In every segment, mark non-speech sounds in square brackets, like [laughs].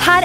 her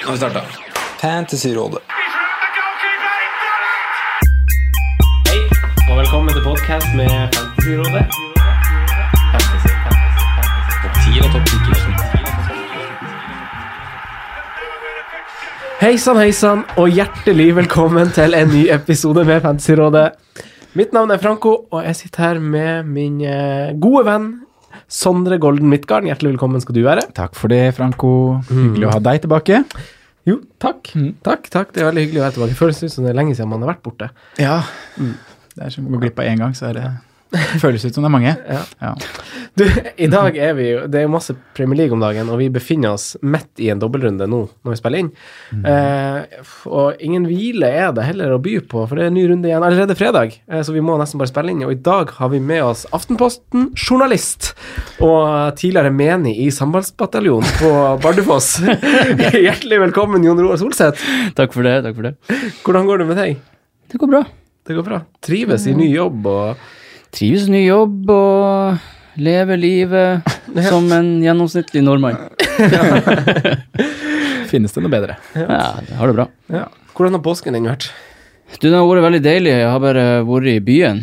Nå har vi starta. Fantasyrådet. Hei, og velkommen til podcast med Fantasyrådet. Fantasy, fantasy, fantasy. Topp 10 og topp 10. Hei sann, hei sann, og hjertelig velkommen til en ny episode med Fantasyrådet. Mitt navn er Franco, og jeg sitter her med min eh, gode venn Sondre Golden Midtgarden. Hjertelig velkommen skal du være. Takk for det, Franco. Hyggelig å ha deg tilbake. Jo, takk. Mm. Takk, takk. Det er veldig hyggelig å være tilbake. Føles ut som det er lenge siden man har vært borte. Ja. Mm. Det er som å gå glipp av én gang, så er det [laughs] det føles ut som det er mange. Ja. Du, i dag er vi jo Det er jo masse Premier League om dagen, og vi befinner oss midt i en dobbeltrunde nå når vi spiller inn. Mm. Eh, f- og ingen hvile er det heller å by på, for det er en ny runde igjen allerede fredag. Eh, så vi må nesten bare spille inn. Og i dag har vi med oss Aftenposten, journalist og tidligere menig i Sambandsbataljonen på [laughs] Bardufoss. Hjertelig velkommen, Jon Roar Solseth. Takk for det. takk for Det Hvordan går det med deg? Det går bra. Det går bra? Trives i Mm. ny jobb og Trives i ny jobb og lever livet som en gjennomsnittlig nordmann. Finnes det noe bedre? Ja, det har det bra. ja. Hvordan har påsken din vært? Du, Den har vært veldig deilig. Jeg har bare vært i byen.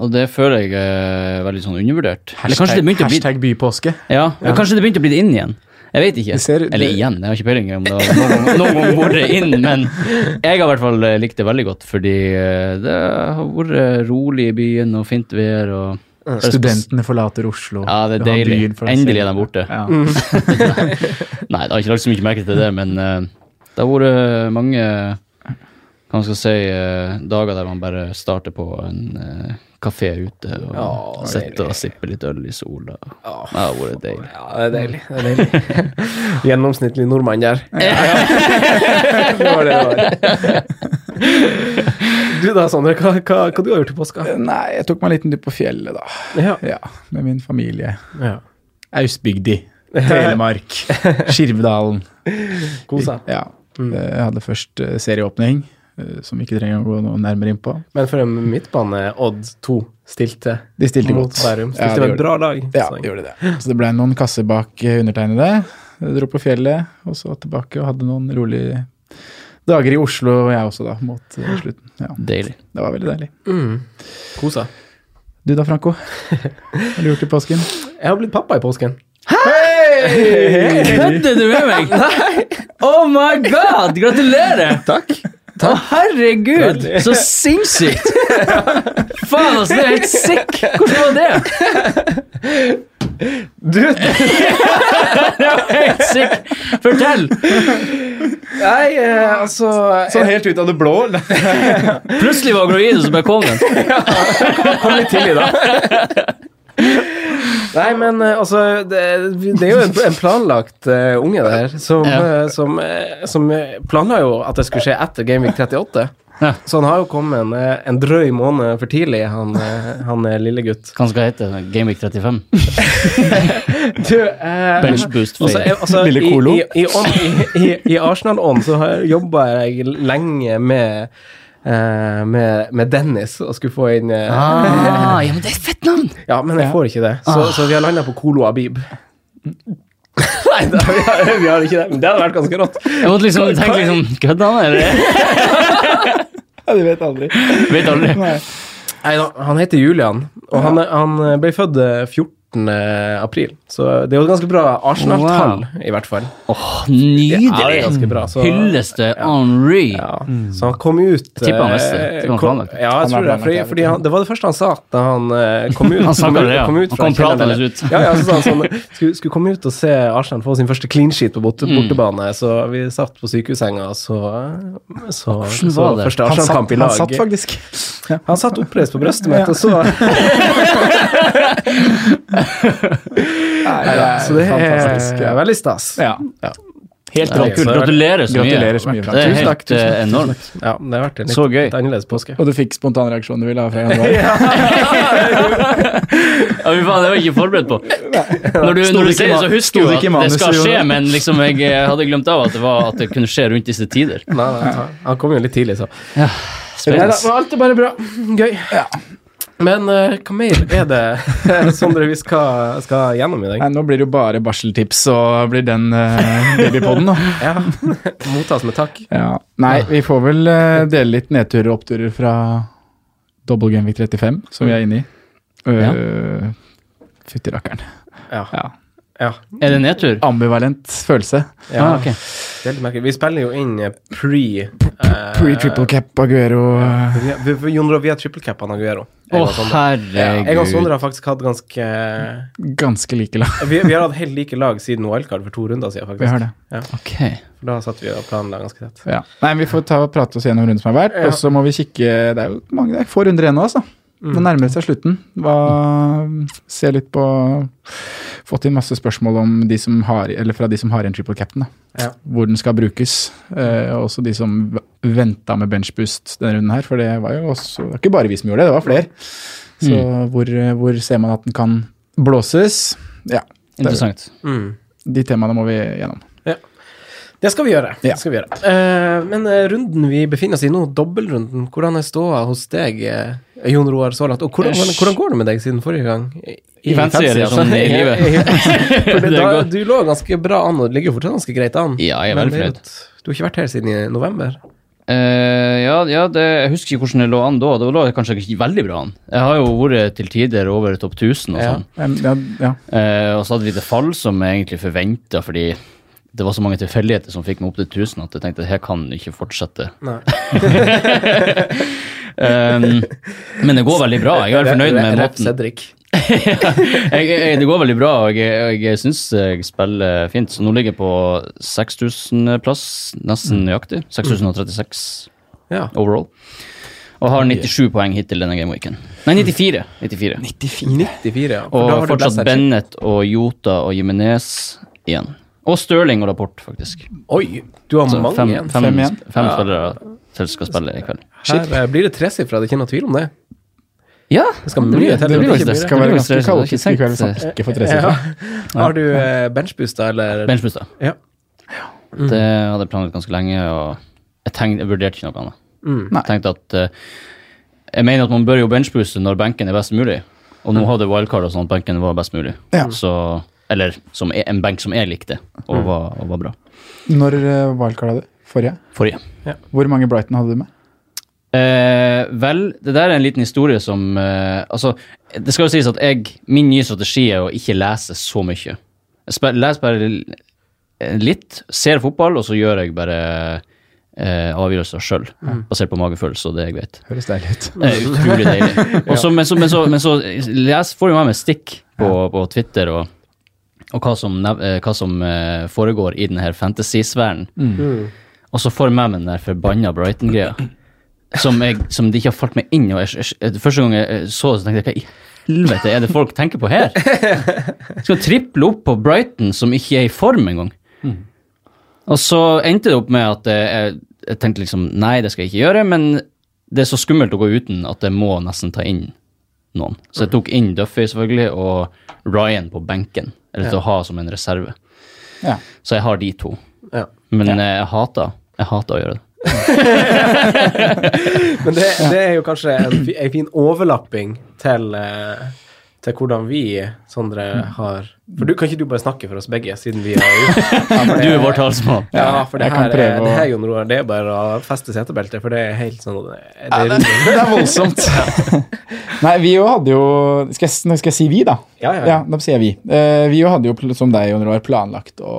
Og det føler jeg er veldig sånn undervurdert. Eller kanskje det begynte å bli hashtag bypåske. Ja, men kanskje det begynte å bli det inn igjen. Jeg vet ikke. Det ser- Eller det- igjen, jeg har ikke peiling om det har noen gang- noen gang vært inn, men jeg har i hvert fall eh, likt det veldig godt, fordi eh, det har vært rolig i byen og fint vær og Studentene forlater Oslo. Ja, det er Du har deilig. byen for deg selv. Endelig er de borte. Ja. Mm. Nei, det har ikke lagt så mye merke til det, men eh, det har vært eh, mange hva man skal si, eh, dager der man bare starter på en eh, kafé ute og Ja, sitter og sipper litt øl i sola. det har vært deilig. Ja, det er deilig. Det er deilig. [laughs] Gjennomsnittlig nordmann der. [laughs] det var det det var. Du da, Sondre. Hva, hva, hva du har gjort i påska? Nei, jeg tok meg en liten tur på fjellet, da. Ja. Ja, Med min familie. ja. Austbygdi. Eh, Telemark. Skirvedalen. [laughs] Kosa. Ja. Mm. Jeg hadde først eh, serieåpning, eh, som vi ikke trenger å gå noe nærmere inn på. Men for en midtbane, Odd 2 stilte De stilte mot godt. Bærum. Ja, Stilte med det et gjorde bra lag. Ja, Så- det gjorde det. Så det ble noen kasser bak eh, undertegnede. Jeg dro på fjellet, og så tilbake og hadde noen rolige dager i Oslo, og jeg også, da, mot eh, slutten. Ja, Deilig. det var veldig deilig. Kosa. Du da, Franco? Hva har du gjort i påsken? Jeg har blitt pappa i påsken. Kødder du med [laughs] meg?! Oh my god! Gratulerer! [laughs] Takk. Å, herregud! Så sinnssykt! Faen, altså, det er helt sick! Hvordan var det? Du, [laughs] Helt sick! Fortell! nei, eh, altså [laughs] Sånn helt ut av det [laughs] blå? Plutselig var gravid, og så bare kom den. Kom litt tidlig, da. Nei, men eh, altså Det, det er jo en, en planlagt eh, unge, det her, som, eh, som, eh, som eh, planla jo at det skulle skje etter Gameweek 38. Ja. Så han har jo kommet en, eh, en drøy måned for tidlig, han, eh, han eh, lille gutt. Hva skal det hete? Gameweek [laughs] 35? Du, eh, Bench boost altså, fail. jeg- altså, Lille Colo. I, i, i, ånd- i, i, i Arsenal-ånd så har- jobba jeg lenge med eh, med, med Dennis, og skulle få inn eh, [laughs] Ah, ja, men det er et fett navn! Ja, Ah. men jeg får ikke det. Så, så vi har landa på Kolo Abib. [laughs] Nei, da, [laughs] vi, har, vi har ikke det. Men det hadde vært ganske rått. Jeg måtte liksom tenke liksom Kødder han, [laughs] eller? Ja, du vet aldri. Vet aldri. Nei, da, han heter Julian, og han, han ble født eh, 14. 14. april. Så eh, det er jo et ganske bra Arsenal-tall, i hvert fall. Nydelig! Ja, det er ganske bra, så- Hylles det Henry? Mm. Så han kom ut Jeg tipper han visste det. eh, Jeg tror han kom, planlagt det. Ja, jeg Han tror er det. Fordi, planlagt, fordi han, det var det første han sa da han eh, kom ut. [laughs] Han sa kom ut, det, ja. kom ut Han fra kom kjelleren. pratende ut. Ja, ja, så sa han [laughs] sånn skulle, skulle komme ut og se Arsenal få sin første clean sheet på borte, Mm. bortebane, så vi satt på sykehussenga, så Så, Hvordan så, var første det? Han satt- Arsenal-kamp i han lag. satt faktisk. Han satt oppreist på brøstet mitt, og så Nei, da, [laughs] Så det fantastisk, er ja. veldig stas. Ja. Helt rått. Gratulerer så mye. Gratulerer så mye. Det er helt, eh, enormt. Ja, det har vært en litt, Så gøy. litt annerledes påske. Og du fikk spontan reaksjon du ville ha fra [laughs] januar? Ja, men faen, det var jeg ikke forberedt på. Når du, Sto når det du ikke sier i det, ma- så sto husker det du ikke i at det manuset, skal skje, Jonas? men liksom jeg eh, hadde glemt av at det, var, at det kunne skje rundt disse tider. Nei, nei, nei, han kom jo litt tidlig, så. Nei da, Spennende. men alt er bare bra. Gøy. Men eh, hva mer er det, eh, Sondre, vi skal, skal gjennom i dag? Nei, nå blir det jo bare barseltips, og blir den uh, babypodden, da. Ja. Mottas med takk. Ja. Nei, vi får vel eh, dele litt nedturer og oppturer fra Double Genvik 35, som vi er inne i. Uh, Fytti rakkeren. Ja. Ja. ja. Er det nedtur? Ambivalent følelse. ja. Ah, ok. Det er litt merkelig. Vi spiller jo inn eh, pre eh, Pre-triple cap Aguero. eh, vi- vi- vi- Jon Roar, vi har triple cap han Aguero. Jeg Å, og Sondre. Jeg og herregud. Sondre har faktisk hatt ganske eh, Ganske like lag. vi, vi har hatt helt like lag siden OL-kart for to runder siden, faktisk. Vi har det. Ok. For da satt vi og planla ganske tett. Ja. Nei, vi får ta og prate oss gjennom runden som har vært, Ja. og så må vi kikke Det er jo mange, det er få runder igjen nå, altså. Mm. Det nærmer seg slutten. Hva, se litt på Fått inn masse spørsmål om de som har, eller fra de som har en triple cap'n. da. Ja. Hvor den skal brukes. Eh, og også de som v- venta med benchboost denne runden her, for det var jo også Det var ikke bare vi som gjorde det, det var flere. Mm. Så hvor, eh, hvor ser man at den kan blåses? Ja. det er- Interessant. Mm. De temaene må vi gjennom. Det skal vi gjøre. Ja. Det skal vi gjøre. Eh, men eh, runden vi befinner oss i nå, dobbeltrunden, hvordan er ståa hos deg, eh, Jon Roar, så langt? Og hvordan, hvordan, hvordan går det med deg siden forrige gang? I, altså. I fancy, eller [laughs] sånn i livet? For [laughs] Det da, går. du lå ganske bra an, og det ligger jo fortsatt ganske greit an. Ja, jeg er Men veldig det jo fornøyd. et- Du har ikke vært her siden i november? Eh, ja, ja det, jeg husker ikke hvordan det lå an da. Det lå jeg kanskje ikke veldig bra an. Jeg har jo vært til tider over topp 1000 og Ja. sånn. Eh, Ja, ja. Eh, og så hadde vi det fall som jeg egentlig forventa, fordi det var så mange tilfeldigheter som fikk meg opp til 1000 at jeg tenkte her kan ikke fortsette. Nei. Um, men det går veldig bra. Jeg er veldig fornøyd med Rep måten. Cedric. Jeg, jeg, det går veldig bra, og jeg, jeg syns jeg spiller fint. Så nå ligger jeg på 6000-plass, Mm. nesten nøyaktig. 6036 Ja. overall. Og har 97 poeng hittil denne gameweeken. Nei, 94. 94. 94, ja. For Og da var det fortsatt best her siden. Bennett og Jota og Jimenez igjen. Og Stirling og Rapport, faktisk. Oi, du har Så mange Altså, fem, igjen. fem, Fem fem, igjen. Ja. spillere til skal spille i kveld. Her eh, blir det tresifra, det er ikke noe tvil om det. Ja, Det skal mye til. Det, blir ikke faktisk det. mye. skal blir være faktisk ganske det. Det er kaotisk i ikke kveld hvis sant, han ikke får tre sifre. Har du eh, benchboosta, eller? Benchboost, da. Ja. Det hadde jeg planlagt ganske lenge, og jeg, tenkte, jeg vurderte ikke noe annet. Jeg tenkte at eh, Jeg mener at man bør jo benchbooste når benken er best mulig, og nå hadde wildcard og sånn at benken var best mulig. Ja. Så, eller som er, en benk som jeg likte, og var, og var bra. Når eh, wildcard hadde du? Forrige? Forrige. Hvor mange Brighton hadde du med? Eh, vel, det der er en liten historie som eh, Altså, det skal jo sies at jeg Min nye strategi er å ikke lese så mye. Jeg spe- leser bare l- eh, litt, ser fotball, og så gjør jeg bare eh, avgjørelser sjøl, basert på magefølelse og det jeg vet. Høres deilig ut. Det er utrolig deilig. Og så, men, så, men, så, men så les, får jo jeg med stikk på, på Twitter og, og hva som, nev- eh, hva som eh, foregår i den her fantasy-sfæren. Og så får jeg med meg den der forbanna Brighton-greia. Som, jeg- som det ikke har falt meg inn. Og jeg, jeg, første gang jeg eh, så det, så tenkte jeg hva i helvete er det folk tenker på her? Skal triple opp på Brighton, som ikke er i form engang. Og så endte det opp med at eh, jeg, jeg tenkte liksom nei, det skal jeg ikke gjøre, men det er så skummelt å gå uten at jeg må nesten ta inn noen. Så jeg tok inn Duffy selvfølgelig, og Ryan på benken, eller til å ha som en reserve. Ja. Så jeg har de to. Ja. Men eh, jeg hater jeg hater å gjøre det. Men det, det er jo kanskje en, fi- en fin overlapping til, eh, til hvordan vi, Sondre, Mm. har For du kan ikke du bare snakke for oss begge, siden vi er for Du er vår talsmann. Ja, for det Jeg kan her, er- prøve å- det her, Jon Roar, det er bare å feste setebeltet, for det er helt sånn Det, Ja, det, det er voldsomt. Nei, vi jo hadde jo Skal jeg, nå skal jeg si vi, da? [laughs] Ja, ja, ja. da sier jeg vi. Eh, vi jo hadde jo, pl- som deg, Jon Roar, planlagt å,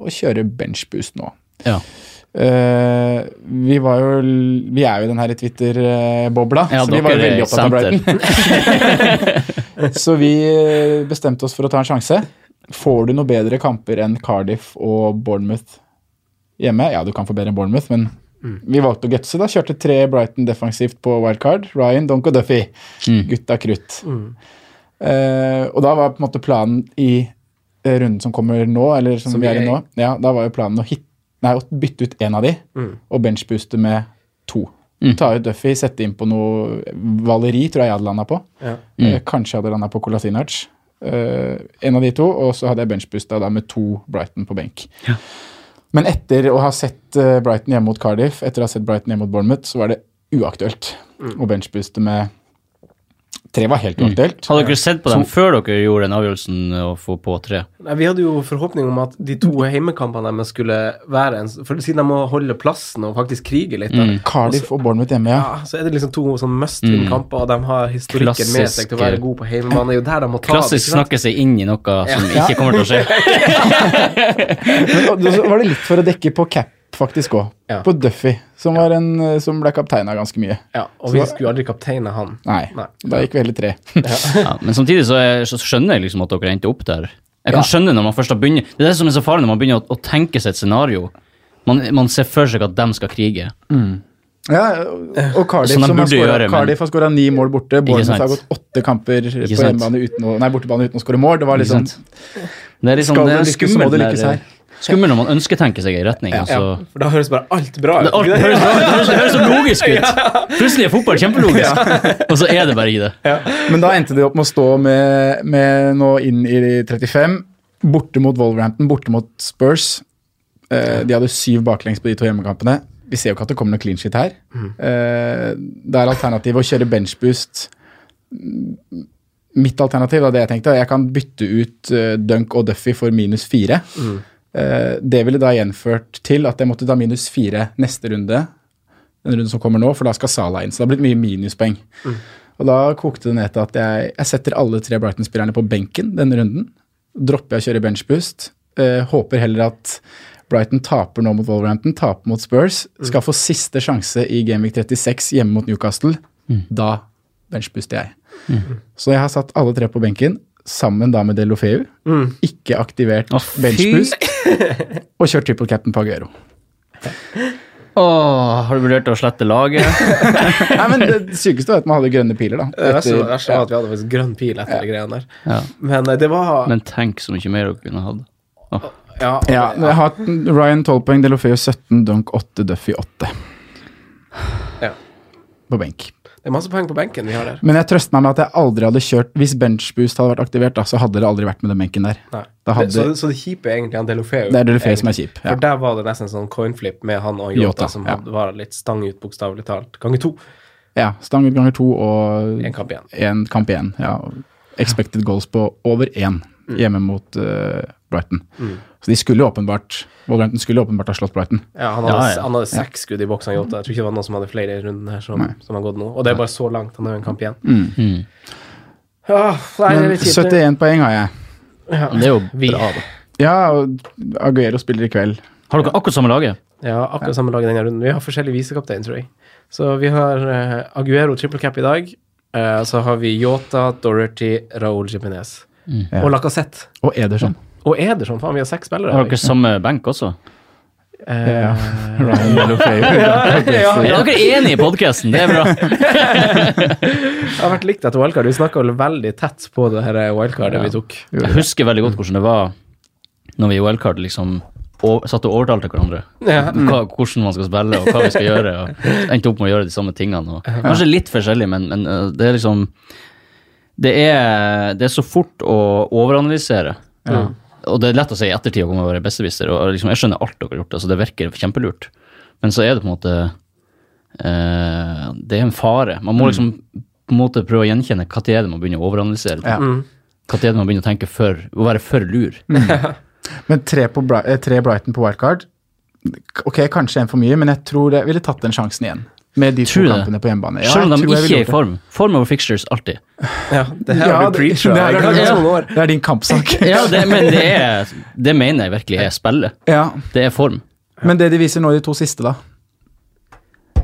å kjøre benchboost nå. Ja. Eh, vi var jo l- Vi er jo i den her Twitter-bobla, Ja, så vi dere var jo er veldig opptatt av senter. Brighton. så vi eh, bestemte oss for å ta en sjanse. Får du noe bedre kamper enn Cardiff og Bournemouth hjemme? Ja, du kan få bedre enn Bournemouth, men vi valgte å gutse, da. Kjørte tre Brighton defensivt på wildcard. Ryan, Donk og Duffy. Gutta krutt. Eh, og da var på en måte planen i eh, runden som kommer nå, eller som, Som vi er i vi er i. nå, ja, da var jo planen å, hit, nei, å bytte ut én av de og benchbooste med to. Ta ut Duffy, sette inn på noe Valeri, tror jeg jeg hadde landa på. Ja. Eh, kanskje jeg hadde landa på Kolasinac. Eh, en av de to, og så hadde jeg benchboosta da med to Brighton på benk. Men etter å ha sett eh, Brighton hjemme mot Cardiff, etter å ha sett Brighton hjemme mot Bournemouth, så var det uaktuelt å benchbooste med Tre var helt uaktuelt. [laughs] Hadde dere sett på dem før dere gjorde den avgjørelsen å få på tre? Nei, Vi hadde jo forhåpning om at de to heimekampene deres skulle være en For siden de må holde plassen og faktisk krige litt, da. Mm. Cardiff og Bournemouth hjemme, ja. Ja, så er det liksom to sånn must win-kamper, og de har historikken med seg til å Klassisk- være gode på hjemmebane. Det er jo der de må ta Klassisk det. ikke sant? snakke seg inn i noe som Ja. ikke kommer til [laughs] å skje. Men, og så var det litt for å dekke på cap, faktisk òg. Ja. På Duffy, som, var en, eh, som ble kapteina ganske mye. Ja, og vi skulle aldri kapteine han. Nei. Nei. Da gikk vi heller tre. Ja, men samtidig så, er, så skjønner jeg liksom at dere endte opp der. Jeg kan skjønne når man først har begynt, Det er det som er så farlig når man begynner å, å tenke seg et scenario. Man, man ser for seg at de skal krige. Ja, og Cardiff, Som de som har burde scoret- gjøre, men- Cardiff har skåra ni mål borte. sant. Bournemouth har gått åtte kamper på sant. hjemmebane uten å, nei, bortebane uten å skåre mål. Det var Ikke liksom sant? Det er liksom Skal det du er lykkes, så må skummelt du når- lykkes her. skummelt når man ønsketenker seg en retning, og Ja, så for da høres bare alt bra ut. Det, er [laughs] alt, det, høres, det, høres, det høres så logisk ut. Plutselig er fotball kjempelogisk, og så er det bare ikke det. Men da endte de opp med å stå med, med nå inn i de 35. Borte mot Wolverhampton, borte mot Spurs. Eh, de hadde syv baklengs på de to hjemmekampene. Vi ser jo ikke at det kommer noe clean shit her. Eh, det er alternativet å kjøre benchboost. M- Mitt alternativ var det jeg tenkte. Jeg kan bytte ut eh, Dunk og Duffy for minus fire. Eh, det ville da gjenført til at jeg måtte ta minus fire neste runde, den runden som kommer nå, for da skal Sala inn. Så det har blitt mye minuspoeng. Og da kokte det ned til at jeg, jeg setter alle tre Brighton-spillerne på benken denne runden. Dropper jeg å kjøre benchboost. eh, håper heller at Brighton taper nå mot Wolverhampton, taper mot Spurs. Skal få siste sjanse i Gameweek 36 hjemme mot Newcastle. Mm. Da benchbooster jeg. Så jeg har satt alle tre på benken, sammen da med Delofeu. Ikke aktivert Å, fy. benchboost. Og kjørt triple cap'n på Aguero. Åh, har du vurdert å slette laget? Nei, men Det sykeste var at man hadde grønne piler, da. Det verste det Etter- verste var at vi hadde faktisk grønn pil etter de greiene der. Ja. Men eh, det var Men tenk så mye mer dere kunne hatt. Åh. Ja, Ja, jeg har hatt Ryan 12 poeng, Delofeu 17, Dunk 8, Duffy 8. Ja. På benk. det er masse poeng på benken vi har der. Men jeg trøster meg med at jeg aldri hadde kjørt Hvis benchboost hadde vært aktivert, da, så hadde det aldri vært med den benken der. Nei. Da hadde, Det, så, så det kjipe er egentlig han Delofeu. det er Delofeu som er kjip. Ja. For der var det nesten sånn coinflip med han og Yota Jota, som ja. hadde, var litt stang ut, bokstavelig talt. Ganger to. ja, Stang ut ganger to og En kamp igjen. en kamp igjen. Ja. Expected goals på over én hjemme mot eh, Brighton. Så de skulle åpenbart Wolverhampton skulle åpenbart ha slått Brighton. Ja, han hadde, Ja, ja. han hadde seks skudd i boksen, Jota. Jeg tror ikke det var noen som hadde flere i runden her som, Nei. Mm. som har gått nå. Og det er bare så langt. Han har jo en kamp igjen. Åh, nei, det er Men litt kjipt. 71 poeng har jeg. Ja. Det er jo Vi- bra, da. Ja, og Aguero spiller i kveld. Har dere akkurat samme laget? Ja, akkurat samme lag i denne runden. Vi har forskjellig visekaptein, tror jeg. Så vi har eh, Aguero triple cap i dag. Eh, så har vi Yota, Dorothy, Raoul Jimenez. Mm. Og Lacassette. Og Ederson. Og Ederson, faen. Vi har seks spillere. liksom. Har dere samme benk også? Eh, [laughs] Ryan Delofeu. [laughs] Ah, Ja, dere er enige i podkasten, det er bra. Det har vært likt etter wildcard. Vi snakka veldig tett på det her wildcardet vi tok. Jeg husker veldig godt hvordan det var når vi i Wildcard liksom o- satt og overtalte hverandre. [laughs] Ja. Hva, Mm. hvordan man skal spille, og hva vi skal gjøre. Og endte opp med å gjøre de samme tingene. Og, kanskje litt forskjellig, men, men øh, det er liksom det er, det er så fort å overanalysere. Og det er lett å si i ettertid å komme og være besserwisser. Og liksom, jeg skjønner alt dere har gjort, altså det virker kjempelurt. Mm. Men så er det på en måte eh, Det er en fare. Man må liksom på en måte prøve å gjenkjenne når det er det man begynner å overanalysere. Ja. Når Mm. det er det man begynner å tenke for, å være for lur. Men tre, på, Bri- eh, tre Brighton på wildcard Ok, kanskje en for mye, men jeg tror det jeg ville tatt den sjansen igjen. Med de to Tror du det? kampene på hjemmebane. Ja, Selv om jeg de tror jeg ikke ville er i gjort det. form. Form over fixtures alltid. Ja, det her Ja, har du det- preacha det her i har du- noen år. Det er din [laughs] kampsak. Ja, det, men det, er, det mener jeg virkelig er spillet. Ja, Det er form. Men det de viser nå, de to siste, da.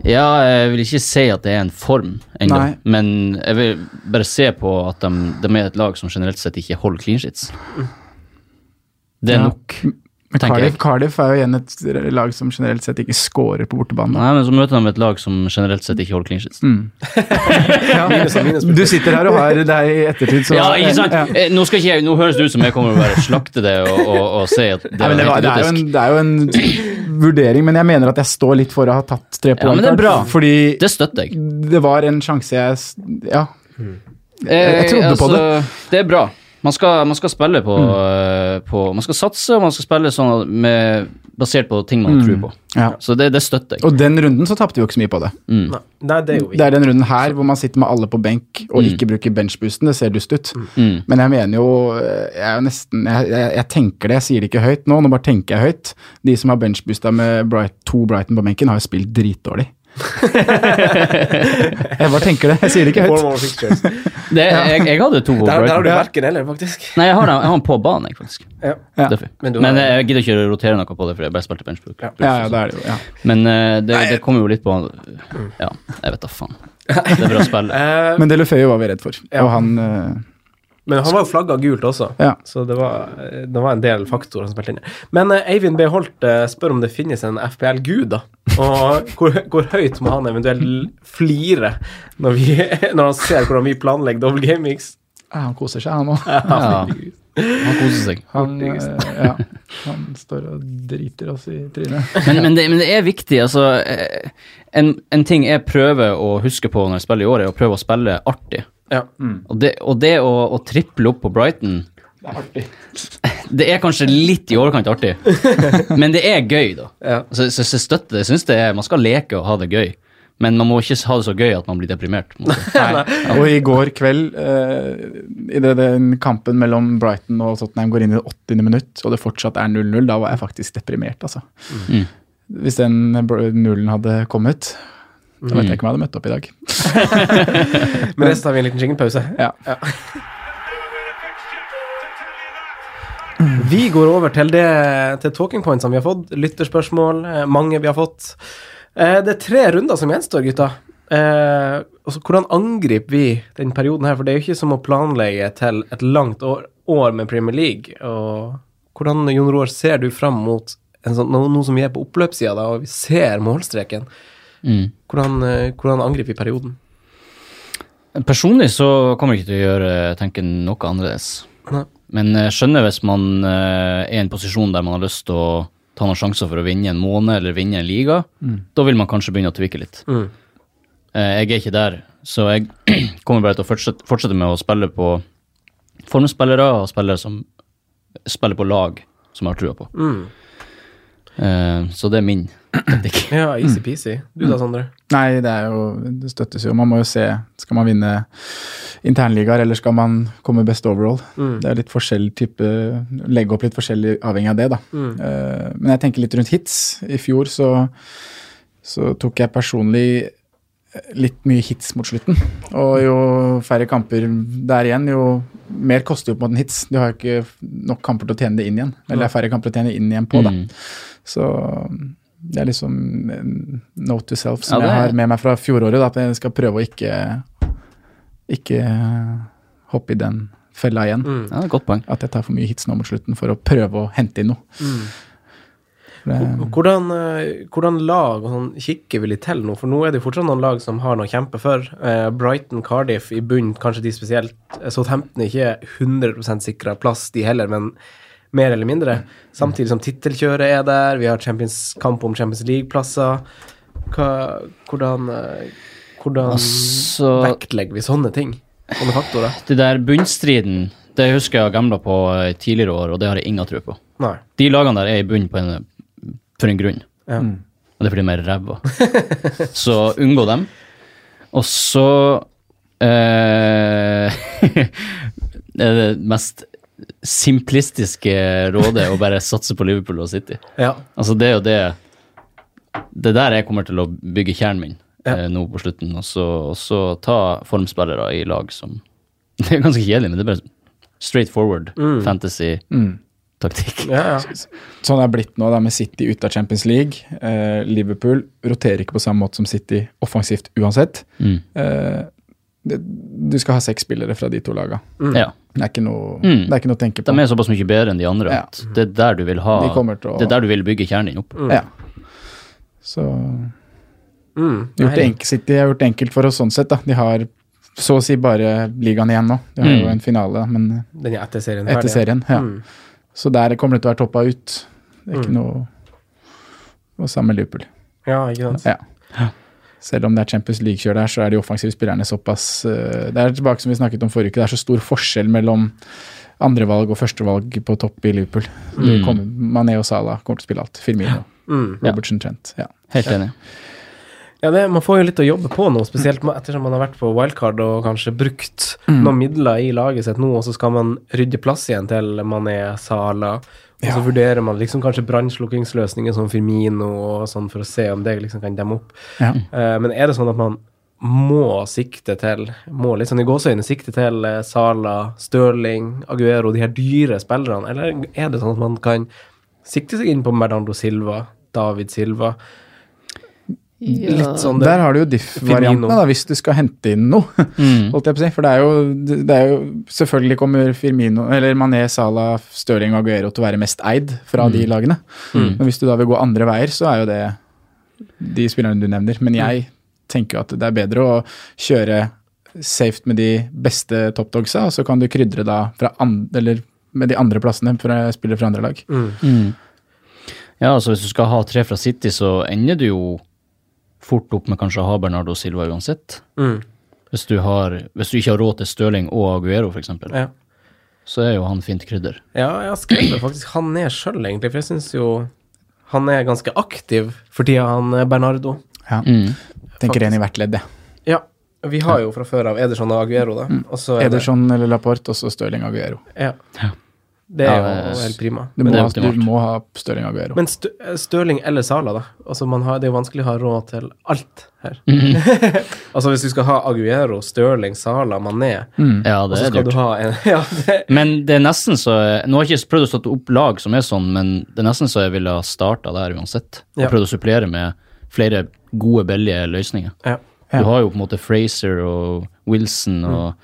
Ja, jeg vil ikke si at det er en form ennå, Nei. men jeg vil bare se på at de, de er et lag som generelt sett ikke holder clean sheets. Det er Ja. nok, Men tenker jeg. Cardiff, Cardiff er jo igjen et lag som generelt sett ikke scorer på bortebane. Nei, men så møter de et lag som generelt sett ikke holder clean sheets. Mm. [laughs] Du sitter her og har det her i ettertid, så ja, ikke sant? Ja. Eh, Nå, skal ikke jeg, nå høres det ut som jeg kommer til å bare slakte det og, og, og si at det Nei, men det, var, helt det, er jo en, idiotisk. det er jo [clears throat] en vurdering, men jeg mener at jeg står litt for å ha tatt tre på Ja, men det er wildcard, bra. Fordi Det støtter jeg. det var en sjanse jeg s- Ja. Jeg trodde på det. Eh, altså, Mm. Det er bra. Man skal, man skal spille på, eh, på Man skal satse, og man skal spille sånn at- med, basert på ting man tror på. Mm. ja. Så det, det støtter jeg. Mm. Og den runden så tapte vi jo ikke så mye på det. Nei, Nei, det er jo Det er den runden her hvor man sitter med alle på benk og ikke bruker benchboosten. Det ser dust ut. Mm. Men jeg mener jo eh, Jeg er jo nesten jeg, jeg, jeg tenker det, jeg sier det ikke høyt nå. Nå bare tenker jeg høyt. De som har benchboosta med Bright, to Brighton på benken, har jo spilt dritdårlig. jeg bare tenker det. Jeg sier [laughs] det ikke høyt. Der, Det, jeg, jeg hadde to på der har du Brighton. verken eller, faktisk. Nei, jeg har, den- jeg har den på banen, jeg, faktisk. Ja. Ja. Derfor. Men Men, eh, du har- jeg gidder ikke å rotere noe på det, for jeg bare spilte benchbook. Ja. Ja, ja, det er det jo. Ja. Men eh, det, det kommer jo litt på Mm. Ja, jeg vet da faen. Det er bra spill. [laughs] Eh, Men Delefeu var vi redd for, og han eh, Men han var jo flagga gult også, Ja. så det var, det var en del faktorer som spilte inn. Men eh, Eivind B. Holt eh, spør om det finnes en FPL-gud, da. Og [laughs] hvor, hvor høyt må han eventuelt flire når, vi, [laughs] når han ser hvordan vi planlegger double game-mix? ja, Han koser seg, han òg. Ja. Han koser seg. Han, eh, ja. han står og driter oss i trynet. Men, men, det, men det er viktig, altså. eh, En, en ting jeg prøver å huske på når jeg spiller i år, er å prøve å spille artig. Ja. Og det, og det å, å triple opp på Brighton [laughs] Det er kanskje litt i overkant artig, men det er gøy, da. Ja. Så, så, så støtter det. Jeg synes det er, man skal leke og ha det gøy, men man må ikke ha det så gøy at man blir deprimert. på en måte. Og i går kveld, eh, i det, den kampen mellom Brighton og Tottenham går inn i det 80. minutt, og det fortsatt er 0-0, da var jeg faktisk deprimert, altså. Mm. Hvis den br- nullen hadde kommet, da Mm. vet jeg ikke om jeg hadde møtt opp i dag. Med det så tar vi en liten jingle-pause. Ja. Vi går over til, det, til talking points som vi har fått. Lytterspørsmål, eh, mange vi har fått. Eh, Det er tre runder som gjenstår, gutta. Eh, og så hvordan angriper vi den perioden her? For det er jo ikke som å planlegge til et langt år, år med Premier League. Og hvordan, Jon Roar, ser du fram mot en sånn, nå, nå som vi er på oppløpssida, da, og vi ser målstreken, Mm. hvordan, eh, hvordan angriper vi perioden? Personlig så kommer jeg ikke til å gjøre tenke noe annerledes. Nei. Men jeg skjønner hvis man eh, er i en posisjon der man har lyst til å ta noen sjanser for å vinne en måned eller vinne en liga, da vil man kanskje begynne å tvike litt. Mm. Eh, jeg er ikke der, så jeg [clears throat] kommer bare til å fortsette, fortsette med å spille på formspillere og spillere som spiller på lag som jeg har trua på. Mm. Eh, så det er [clears throat] min taktikk. Ja, easy-peasy. Du da, Sondre? Nei, det er jo Det støttes jo. Man må jo se. Skal man vinne internligaer, eller skal man komme best overall? Det er litt forskjell type Legge opp litt forskjellig avhengig av det, da. Eh, men jeg tenker litt rundt hits. I fjor så, så tok jeg personlig litt mye hits mot slutten. Og jo færre kamper der igjen, jo mer koster jo på en måte en hits. Du har jo ikke nok kamper til å tjene det inn igjen. Eller det er færre kamper å tjene inn igjen på, da. Mm. Så det er liksom en note to self som Ja, det er- jeg har med meg fra fjoråret. Da, at jeg skal prøve å ikke, ikke uh, hoppe i den fella igjen. Ja, Mm. det er et godt poeng. At jeg tar for mye hits nå mot slutten for å prøve å hente inn noe. Mm. Um, Og Hvordan, eh, hvordan lag og sånn kikker vi litt til nå? For nå er det jo fortsatt noen lag som har noe å kjempe for. Eh, Brighton, Cardiff i bunnen, kanskje de spesielt. Eh, Southampton er ikke 100 sikra plass, de heller, men mer eller mindre. Samtidig som tittelkjøret er der, vi har Champions kamp om Champions League-plasser. Hva- Hvordan, eh, hvordan Altså- vektlegger vi sånne ting? Sånne faktorer? Det der bunnstriden, det husker jeg har gambla på i tidligere år, og det har jeg ingen tro på. Nei. De lagene der er i bunnen på en, for en grunn, Ja. [laughs] og det er fordi de er ræva. Så unngå dem. Og så Eh, det [laughs] er det mest simplistiske rådet å bare satse på Liverpool og City. Ja. Altså, det er jo det Det der jeg kommer til å bygge kjernen min eh, nå på slutten. Og så, og så ta formspillere i lag som [laughs] Det er ganske kjedelig, men det er bare sånn straight forward Mm. Mm. fantasy-taktikk. S- Sånn det er blitt nå, det er med City ute av Champions League. Eh, Liverpool roterer ikke på samme måte som City offensivt uansett. Mm. Eh, det, du skal ha seks spillere fra de to laga. Mm. Ja. Det, er ikke noe, Mm. det er ikke noe å tenke på. De er såpass mye bedre enn de andre at det er der du vil ha De kommer til å- Det er der du vil bygge kjernen din opp. Ja. Så Mm. gjort det enkelt, City har gjort det enkelt for oss sånn sett. Da. De har så å si bare ligaen igjen nå. De har Mm. jo en finale, men Den er etter serien. etter serien. Ja. Så der kommer det til å være toppa ut. Det er ikke Mm. noe Og samme Liverpool. Ja, ikke sant. Ja. Selv om det er Champions League-kjør der, så er de offensive spillerne såpass eh, Det er tilbake som vi snakket om forrige uke, det er så stor forskjell mellom andrevalg og førstevalg på topp i Liverpool. Det Mm. kommer, Mané og Salah kommer til å spille alt. Firmino, Mm. Robertsen, Trent. Ja. Helt enig. Ja, det, man får jo litt å jobbe på nå, spesielt ma- ettersom man har vært på wildcard og kanskje brukt Mm. noen midler i laget sitt nå, og så skal man rydde plass igjen til Mané, Sala, og så vurderer man liksom kanskje brannslukkingsløsninger som Firmino og sånn for å se om det liksom kan demme opp. Ja. Eh, men er det sånn at man må sikte til, må litt sånn i gåseøyne sikte til eh, Sala, Stirling, Aguero, de her dyre spillerne, eller er det sånn at man kan sikte seg inn på Mernando Silva, David Silva, Litt sånn det- Der har du jo diff-varianten, Firmino. da, hvis du skal hente inn noe. [laughs] Mhm. Mm. holdt jeg på å si. For det er, jo, det er jo Selvfølgelig kommer Firmino, eller Mané, Salah, Stirling og Aguero til å være mest eid fra Mhm. de lagene. Mm. Men hvis du da vil gå andre veier, så er jo det de spillerne du nevner. Men jeg tenker jo at det er bedre å kjøre safe med de beste toppdogsa, og så kan du krydre da fra an- eller med de andre plassene fra spillere fra andre lag. Mm. Ja, altså hvis du skal ha tre fra City, så ender du jo fort opp med kanskje å ha Bernardo Silva uansett. Mm. Hvis, du har, hvis du ikke har råd til Stirling og Aguero, f.eks., Ja. så er jo han fint krydder. Ja, jeg har skrevet faktisk han ned sjøl, egentlig, for jeg syns jo han er ganske aktiv for tida, han eh, Bernardo. Ja. Mm. Mm. Tenker en i hvert ledd, jeg. Ja, Mm. vi har jo fra før av Ederson og Aguero, da. Og så er det, Ederson eller Laporte, og så Stirling og Aguero. ja. det er Ja, jo helt prima. Du må, Men, ha, du må ha Stirling og Aguero. men Stø- eh, Stirling eller Sala, da. Altså, man har, det er jo vanskelig å ha råd til alt [laughs] her. altså, hvis du skal ha Aguero, Stirling, Sala, Mané, Ja, Mm. og det så er skal lurt. du ha en [laughs] Ja, det Men det er nesten så jeg, Nå har jeg ikke prøvd å stå opp lag som er sånn, men det er nesten så jeg ville ha starta der uansett. Og Ja. prøvd å supplere med flere gode, billige løsninger. ja. Mm. Ja. Du har jo på en måte Fraser og Wilson og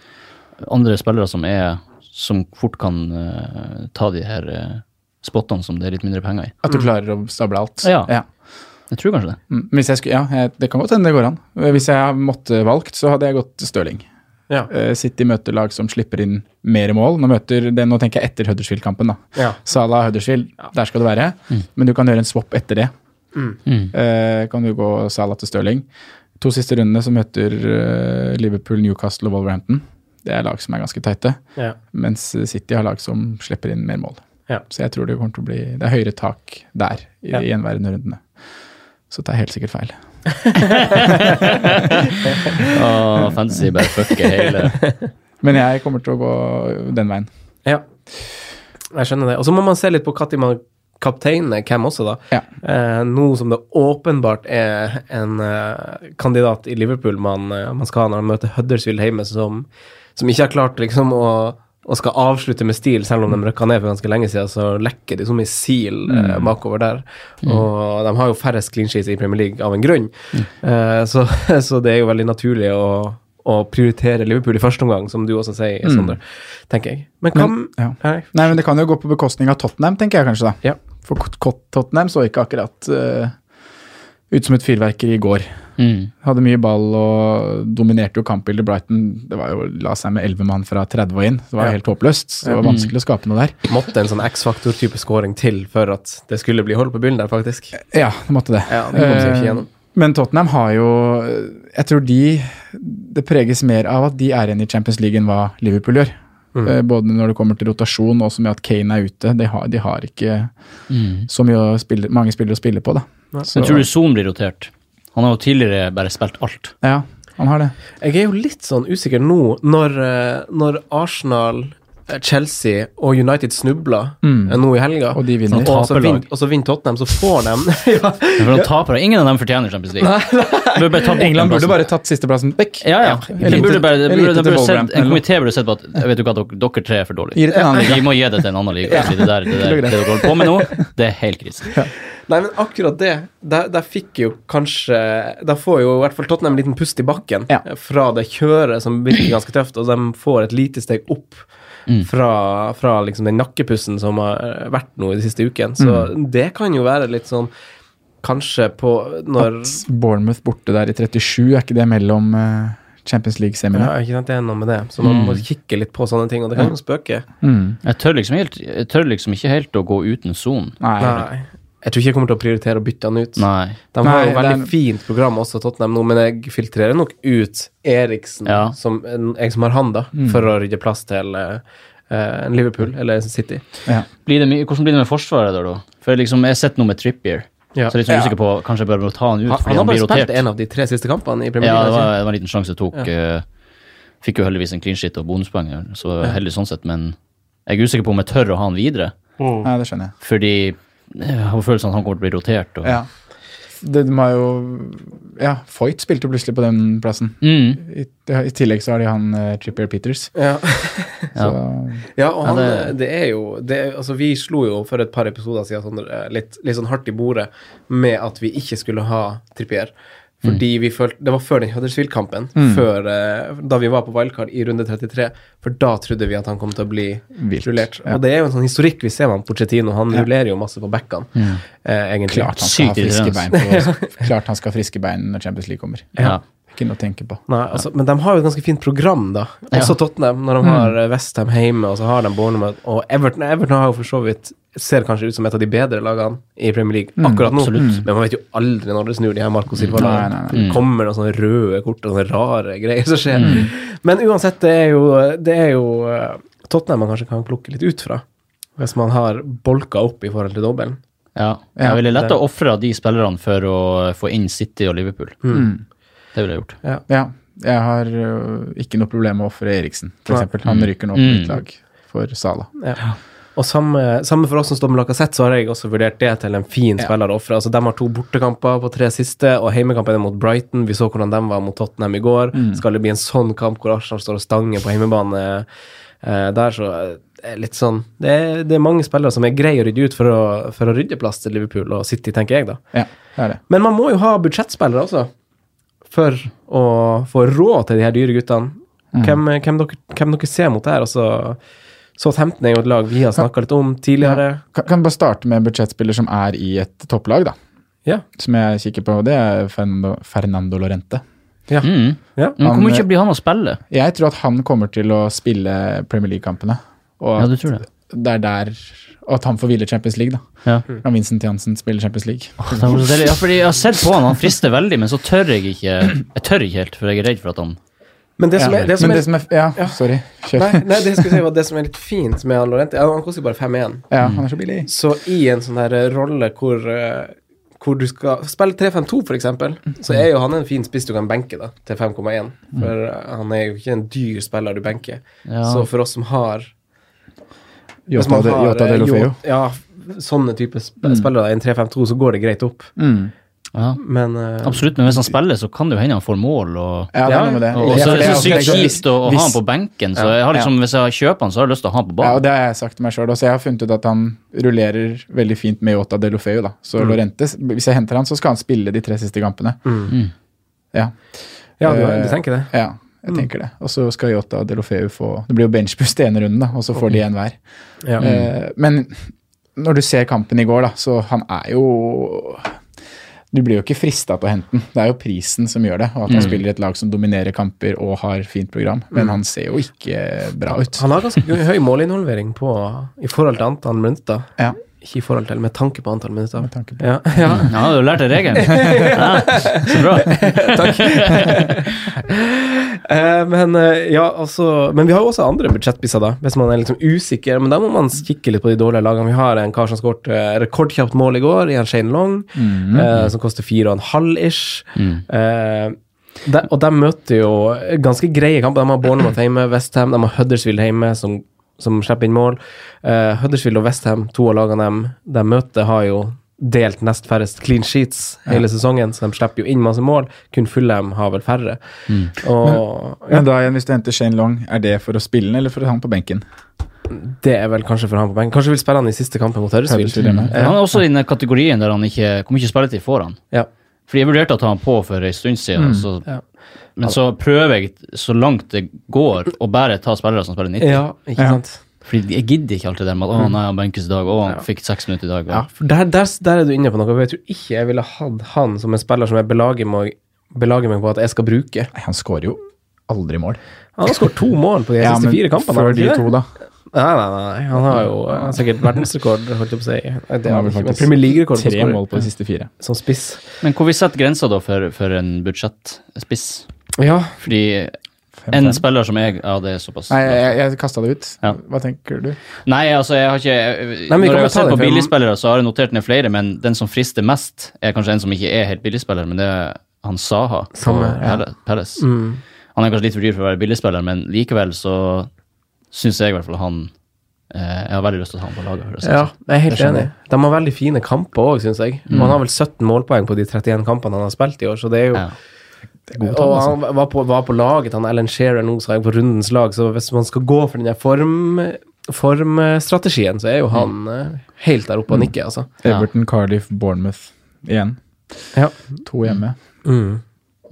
andre spillere som er som fort kan eh, ta de her eh, spottene som det er litt mindre penger i. At Mm. du klarer å stable alt. Ja. Jeg tror kanskje det. Mm, Hvis jeg skulle, ja, jeg- det kan godt hende det går an. Hvis jeg måtte valgt, så hadde jeg gått Stirling. Ja. Eh, City møter lag som slipper inn mer mål. Nå, møter, det, nå tenker jeg etter Huddersfield-kampen. da. Ja. Salah Huddersfield, der skal du være. Mm. Men du kan gjøre en swap etter det. [laughs] Eh, kan du gå Salah til Stirling. To siste rundene så møter eh, Liverpool, Newcastle og Wolverhampton. Det er lag som er ganske teite. ja. Mens City har lag som slipper inn mer mål. Ja. Så jeg tror det kommer til å bli Det er høyere tak der i Ja. de gjenværende rundene. Så det er helt sikkert feil. Å, fantasy bare fucker hele Men jeg kommer til å gå den veien. Ja, jeg skjønner det. Og så må man se litt på når man kapteiner hvem også, da. Ja. Eh, nå som det åpenbart er en eh, kandidat i Liverpool man, eh, man skal ha når man møter Huddersfield hjemme, som, som ikke har klart liksom å og skal avslutte med stil, selv om de røkka ned for ganske lenge siden, så lekker de som i sil eh, Mm. bakover der. Og de har jo færrest clean sheets i Premier League av en grunn, Mm. eh, så, [laughs] så det er jo veldig naturlig å, å prioritere Liverpool i første omgang, som du også sier, Sondre, tenker jeg. Men hva Mm. Men- ja. Nei, Nei, men det kan jo gå på bekostning av Tottenham, tenker jeg kanskje, da. Ja. For Kot- Kot- Tottenham så ikke akkurat eh, ut som et fyrverkeri i går. mm. Hadde mye ball og dominerte jo kampbildet Brighton. Det var jo la seg med elleve mann fra 30 og inn. Det var Ja. helt håpløst. Så det var vanskelig å skape noe der. måtte en sånn X-faktor-type scoring til for at det skulle bli hold på byllen der, faktisk. Ja, det måtte det. Ja, det kom seg ikke Eh, gjennom. Men Tottenham har jo Jeg tror de Det preges mer av at de er igjen i Champions League enn hva Liverpool gjør. Mm. Eh, Både når det kommer til rotasjon og også med at Kane er ute. De har, de har ikke så mye å spille, mange spillere å spille på, da. Så- Men tror du Son blir rotert? Han har jo tidligere bare spilt alt. ja. Han har det. Jeg er jo litt sånn usikker nå, når, eh, når Arsenal, eh, Chelsea og United snubler Mm. eh, nå i helga, Og de vinner. Sånn, og, så Taperlag. vin, og så vinner Tottenham, så får de [laughs] ja. For de taper, og ingen av dem fortjener Champions League. Burde bare ta bort den England burde plassen. bare tatt sisteplassen vekk. Ja, ja. De Elite- burde bare, de elite burde, de til burde Wolverhampton sett, en eller noe. komité burde sett på at vet du hva, dere, dere tre er for Gi det til en annen dårlige. liga. Vi må gi det til en annen liga. fordi Det, der, det, der, Lugg det. det dere holder på med nå, det er helt krise. Nei, men akkurat det, der, der fikk jo kanskje Der får jo i hvert fall Tottenham en liten pust i bakken Ja. eh, fra det kjøret som virker ganske tøft, og de får et lite steg opp Mm. fra, fra liksom den nakkepussen som har eh, vært nå i de siste ukene. Så Mm. det kan jo være litt sånn Kanskje på når At Bournemouth borte der i 37, er ikke det mellom eh, Champions League-semiene? ja, ikke sant, Det er noe med det. Så man må kikke litt på sånne ting, og det kan jo spøke. Mm. Jeg tør liksom, helt, jeg tør liksom ikke helt å gå uten sonen. Nei. Nei. Jeg tror ikke jeg kommer til å prioritere å bytte han ut. Nei. De har jo Nei, veldig det er- fint program også, Tottenham, nå, men jeg filtrerer nok ut Eriksen, Ja. som en, jeg som har han, da, for å rydde plass til eh, eh, Liverpool eller City. Blir det mye, hvordan blir det med forsvaret der, da? For liksom, jeg sitter nå med Trippier. Ja. Så jeg er litt sånn usikker på Kanskje jeg bare må ta han ut Han, fordi han han, har bare blir spilt rotert. en av de tre siste kampene i Premier Ja, det League. var, det var en liten sjanse jeg tok. eh, Fikk jo heldigvis en clean shit og bonuspoeng, så heldig sånn sett, men jeg er usikker på om jeg tør å ha han videre. Nei, det skjønner jeg. Fordi eh, jeg har følelsen at han kommer til å bli rotert. Og... Ja. Det, de har jo Ja, Foyt spilte jo plutselig på den plassen. Mm. I, ja, i tillegg så er det han eh, Trippier Peters. ja. Så Ja, og han, Ja, det- det er jo det, er- Altså, vi slo jo for et par episoder siden sånn, eh, litt, litt sånn hardt i bordet med at vi ikke skulle ha Trippier. Mm. Fordi vi følte Det var før den Huddersfield-kampen, før, eh, da vi var på wildcard i runde 33, for da trodde vi at han kom til å bli Vilt, rullert. ja. Og det er jo en sånn historikk vi ser med Porcettino, han rullerer jo masse på backene, Mm. eh, egentlig. klart han skal ha Sykt friske irriterende. bein på, [laughs] klart han skal ha friske bein når Champions League kommer. Ja. Ikke noe å tenke på. Nei, altså, Men de har jo et ganske fint program, da. Også Tottenham, når de Mm. har eh, West Ham hjemme, og så har de Bournemouth og Everton. Everton har jo for så vidt ser kanskje ut som et av de bedre lagene i Premier League Mm. akkurat nå. Men man vet jo aldri når det snur, de her Marco Nei, Mm. nei, Mm. Silva-lagene. Det Kommer noen sånne røde kort og sånne rare greier som skjer. Men uansett, det er jo, det er jo eh, Tottenham man kanskje kan plukke litt ut fra. Hvis man har bolka opp i forhold til dobbelen. Ja. Ja, Jeg ville lett ha ofra de spillerne for å få inn City og Liverpool. Mm. Det ville jeg gjort. Ja, jeg har øh, ikke noe problem med å ofre Eriksen, Nei. f.eks. Han ryker nå på Mm. mitt lag for Sala. Ja. Og samme, samme for oss som står med Lacassette, så har jeg også vurdert det til en fin spiller å ofre. Altså, de har to bortekamper på tre siste, og heimekampen er mot Brighton. Vi så hvordan de var mot Tottenham i går. Skal det bli en sånn kamp hvor Arsenal står og stanger på heimebane eh, der, så eh, det er litt sånn det er, det er mange spillere som er greie å rydde ut for å, for å rydde plass til Liverpool og City, tenker jeg, da. Ja, det er det. Men man må jo ha budsjettspillere også, for å få råd til de her dyre guttene. Mm. Hvem, hvem, dere, hvem dere ser mot der? Altså, Southampton er jo et lag vi har snakka litt om tidligere. Kan, kan bare starte med en budsjettspiller som er i et topplag, da. Ja. Som jeg kikker på, og det er Fernando, Fernando Lorente. Mm. Ja. Men Han, hvor mye eh, blir han å spille? Jeg tror at han kommer til å spille Premier League-kampene. Og Ja, at du tror det? det er der Og at han får hvile i Champions League, da. Ja. Når Vincent Jansen spiller Champions League. Åh, det var så deilig. ja, fordi Jeg har sett på han, han frister veldig, men så tør jeg ikke Jeg tør ikke helt, for jeg er redd for at han Men det Ja, som er, men det som er det som er Ja, sorry. Kjør. Nei, nei, det jeg skulle si var det som er litt fint med han Lorente ja, Han koster jo bare 5-1. Ja, han er så billig. Så i en sånn her eh, rolle hvor, eh, hvor du skal spille 3-5-2, for eksempel, så er jo han en fin spiss du kan benke da, til 5,1. For eh, han er jo ikke en dyr spiller du benker. Ja. Så for oss som har Hvis Jota man de- har, Jota eh, de Lofeo. Jota- Ja, sånne typer sp spillere i en 3-5-2, så går det greit opp. Mm. ja. Men eh, Absolutt, men hvis han spiller, så kan det jo hende han får mål, og Ja, det er noe med det. og Ja, så for er det er så også sykt tenkt- kjipt å, å ha hvis- han på benken. Så jeg har liksom, hvis jeg kjøper han, så har jeg lyst til å ha han på Ja, og banen. det har jeg sagt til meg sjøl også. Jeg har funnet ut at han rullerer veldig fint med Yota de Lofeu, da. Så Mm. Lorente, hvis jeg henter han, så skal han spille de tre siste kampene. Ja. ja, du, Eh, du tenker det. Mm. Ja, jeg tenker det. Og så skal Yota de Lofeu få Det blir jo benchbust i ene runden, da, og så får de en hver. Ja. Eh, Men når du ser kampen i går, da, så han er jo du blir jo ikke frista til å hente den. Det er jo prisen som gjør det. Og at han Mm. spiller i et lag som dominerer kamper og har fint program. Men han ser jo ikke bra ut. Han har ganske høy målinvolvering på, i forhold til antall minutter. Ja. Ikke i forhold til, med tanke på antall minutter. Med tanke på. Ja, ja. [laughs] Ja, du har lært deg regelen. Ja, så bra. Eh, men, eh, ja, altså, men vi har jo også andre budsjettpisser, da, hvis man er liksom usikker. Men da må man kikke litt på de dårlige lagene. Vi har en kar som skåret eh, rekordkjapt mål i går, Ian Shane Long, eh, som koster fire og en halv ish. Eh, De, og de møter jo ganske greie kamper. De har Bournemouth hjemme, Westham, de har Huddersfield hjemme, som, som slipper inn mål. Eh, Huddersfield og Westham, to av lagene dem, de møter, har jo delt nest færrest clean sheets hele sesongen, så de slipper jo inn masse mål. Kun Fulham har vel færre. Og Men da igjen, hvis du henter Shane Long, er det for å spille han, eller for å ha han på benken? det er vel kanskje for han på benken. Kanskje vil spille han i siste kampen mot Huddersfield, Huddersfield. ja. Han er også i den kategorien der han ikke Hvor mye spilletid får han? Ja. Fordi jeg vurderte å ta han på for en stund siden, Mm. så, Ja. men så prøver jeg så langt det går å bare ta spillere som spiller 90. ja, ikke Ja. sant. Fordi jeg gidder ikke alt det der med at å nei, han benkes i dag, å han fikk seks minutter i dag. Ja, og- for der, der, der er du inne på noe. Jeg tror ikke jeg ville hatt han som en spiller som jeg belager meg, belager meg på at jeg skal bruke. Nei, han skårer jo aldri mål. Han har skåret to mål på de Ja, siste men fire kampene. har Før han de ikke det? to, da. Nei, nei, nei. Han har jo eh, sikkert verdensrekord, holdt jeg på å si. Nei, Det Han har har vel han ikke, men faktisk Premier League-rekord på Tre skåring. mål på de siste fire. som spiss. Men hvor vi setter grensa da for, for en budsjettspiss? Ja, Fordi Fem, en fem. spiller som jeg Ja, det er såpass. Nei, jeg, jeg kasta det ut. Ja. Hva tenker du? Nei, altså, jeg har ikke Nei, men vi Når kan jeg bare ta har sett det, på for- billigspillere, så har jeg notert ned flere, men den som frister mest, er kanskje en som ikke er helt billigspiller, men det er han Saha på Samme, ja. Mm. Pelle- Pelles. Han er kanskje litt for dyr for å være billigspiller, men likevel så syns jeg i hvert fall han eh, Jeg har veldig lyst til å ha han på laget. For å si det ja, sånn. jeg er helt Jeg skjønner. enig. De har veldig fine kamper òg, syns jeg. Mm. Og Han har vel 17 målpoeng på de 31 kampene han har spilt i år, så det er jo Ja. Og han var på, var på laget, han Alan Shearer nå, så er jeg på rundens lag, så hvis man skal gå for den der form formstrategien, så er jo han eh, helt der oppe og nikker, altså. Ja. Everton, Cardiff, Bournemouth igjen. Ja. To hjemme. Mm.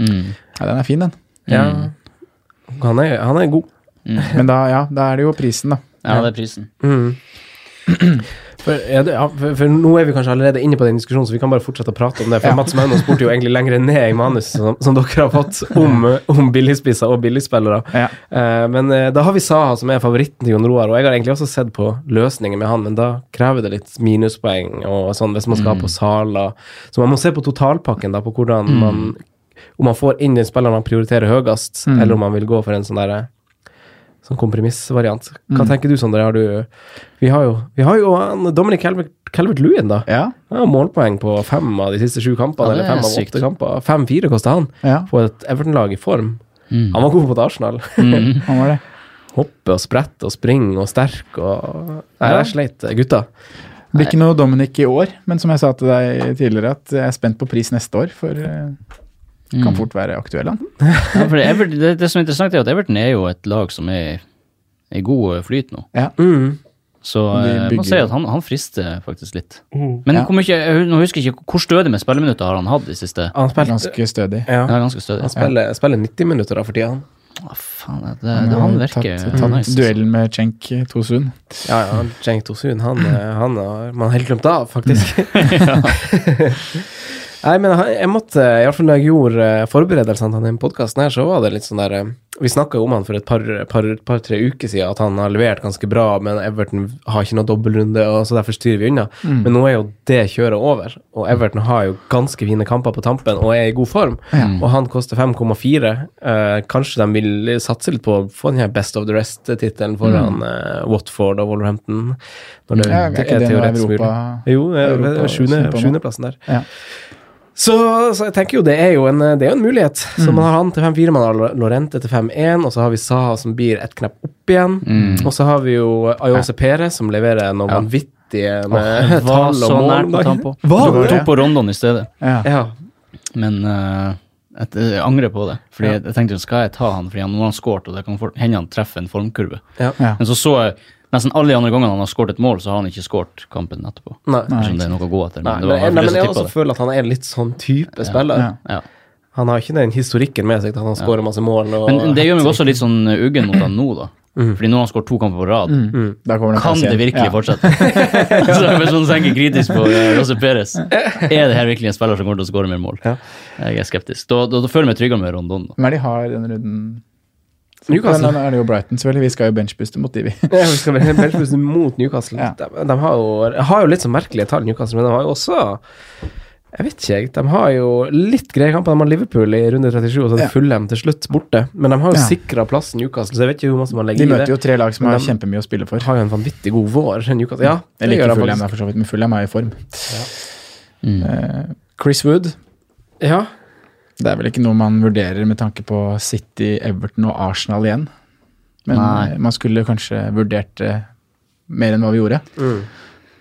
Mm. Ja, den er fin, den. ja. Han, er, han er god. Men da, ja, da er det jo prisen, da. ja, det er prisen. For, er det, ja, for, for nå er vi kanskje allerede inne på den diskusjonen, så vi kan bare fortsette å prate om det. For Mats Maunås spurte jo egentlig lenger ned i manus som, som dere har fått, om, om billigspisser og billigspillere. Ja. Eh, men eh, da har vi Saha, som er favoritten til Jon Roar, og jeg har egentlig også sett på løsninger med han, men da krever det litt minuspoeng og sånn hvis man skal ha på Sala. Så man må se på totalpakken, da, på hvordan man Om man får inn den spilleren man prioriterer høyest, Mm. eller om man vil gå for en sånn derre Sånn kompromissvariant. Hva Mm. tenker du, Sondre? Har du Vi har jo, vi har jo han Dominic Calvert, Calvert Lewin, da. Ja. Han har målpoeng på fem av de siste sju kampene, Ja, det eller fem er av sykt. åtte kamper. Fem-fire kosta han, Ja. på et Everton-lag i form. Mm. Han var god mot Arsenal. Han var det. [laughs] Hoppe og sprette og springe og sterk og Nei, Ja. jeg sleit, gutta. Det blir ikke noe Dominic i år, men som jeg sa til deg tidligere, at jeg er spent på pris neste år, for eh, kan Mm. fort være aktuell, han. Ja, for det, Everton, det, det som er interessant, er at Everton er jo et lag som er i god flyt nå. Ja. Så Og de eh, bygger- man ser at han, han frister faktisk litt. Men Ja. hvor mye, jeg, nå husker jeg ikke hvor stødig med spilleminutter har han hatt i siste. Han spilte Ganske stødig. Ja, ganske stødig. Ah, han spiller, spiller 90 minutter da for tida. han. Å, faen, det, det, det, han virker tatt, tatt nice. duellen med Cenk Tosun. Ja, ja, han Cenk Tosun, han, eh, han har man helt glemt av, faktisk. [laughs] Nei, men han- jeg måtte, i hvert fall da jeg gjorde eh, forberedelsene til denne podkasten her, så var det litt sånn der eh, Vi snakka jo om han for et par-tre par, par, tre uker siden, at han har levert ganske bra, men Everton har ikke noe dobbeltrunde, og så derfor styrer vi unna. Mm. Men nå er jo det kjøret over, og Everton har jo ganske fine kamper på tampen og er i god form. Og han koster 5,4. Eh, kanskje de vil satse litt på å få den her Best of the Rest-tittelen foran eh, Watford og Wolverhampton. Når det, Mm. Ja, er ikke det noe Europa- mulig. Jo, eh, Europa- det er sjuende- synd på nå. sjuendeplassen der. Ja. Så, så jeg tenker jo det er jo en, eh, det er jo en mulighet. Så man har han til 5-4, man har Lorente til 5-1, og så har vi Saha som blir et knepp opp igjen. Og så har vi jo eh, Ayose Perez som leverer noe vanvittige [laughs] med Han Eh, var tall så og mål nært om på å ta han dagen. på. Hva? Tok- Tok på Rondon i stedet, Ja. Ja. men eh, et, jeg angrer på det. Fordi jeg, jeg tenkte skal jeg ta han fordi han, nå har han skåret, og det kan fort hende han treffer en formkurve. Ja. Ja. Men så så jeg nesten alle de andre gangene han har skåret et mål, så har han ikke skåret kampen etterpå. Nei. Nei, Kanskje det er noe å gå etter, men det men, jeg, var, jeg nei, hadde men lyst jeg til å også tippe det. føler at han er en litt sånn type spiller. Ja. Ja. Han har ikke den historikken med seg at han skårer masse mål. Og, Men det gjør meg også litt sånn uggen mot han nå, da. Mm. Fordi nå har han skåret to kamper på rad. Mm. Da kommer den Kan plassen det igjen. virkelig Ja. [laughs] fortsette? Så Hvis man tenker sånn kritisk på eh, Jose Perez, er det her virkelig en spiller som kommer til å skåre mer mål? Ja. Jeg er skeptisk. Da, da, da føler jeg meg tryggere med Rondon. Da. Men de har den runden Newcastle. Men da er det jo Brighton, selvfølgelig. Vi skal jo benchbooste mot de, vi. Ja, vi skal være Belfast mot Newcastle. Ja. De, de har, jo, har jo litt sånn merkelige tall, Newcastle, men de har jo også Jeg vet ikke, jeg. De har jo litt greie kamper. De har Liverpool i runde 37, og så er det Ja. Fulham til slutt borte. Men de har jo Ja. sikret sikra plassen Newcastle, så jeg vet ikke hvor masse man De legger i møter jo det. tre lag som Men har de- kjempemye å spille for. De har jo en vanvittig god vår, Newcastle. Ja, Jeg det gjør liker de Fulham der, faktisk. for så Mm. Mm. vidt, men Fulham er i form. Eh, Chris Wood Ja. Det er vel ikke noe man vurderer med tanke på City, Everton og Arsenal igjen. Men Nei. man skulle kanskje vurdert det mer enn hva vi gjorde.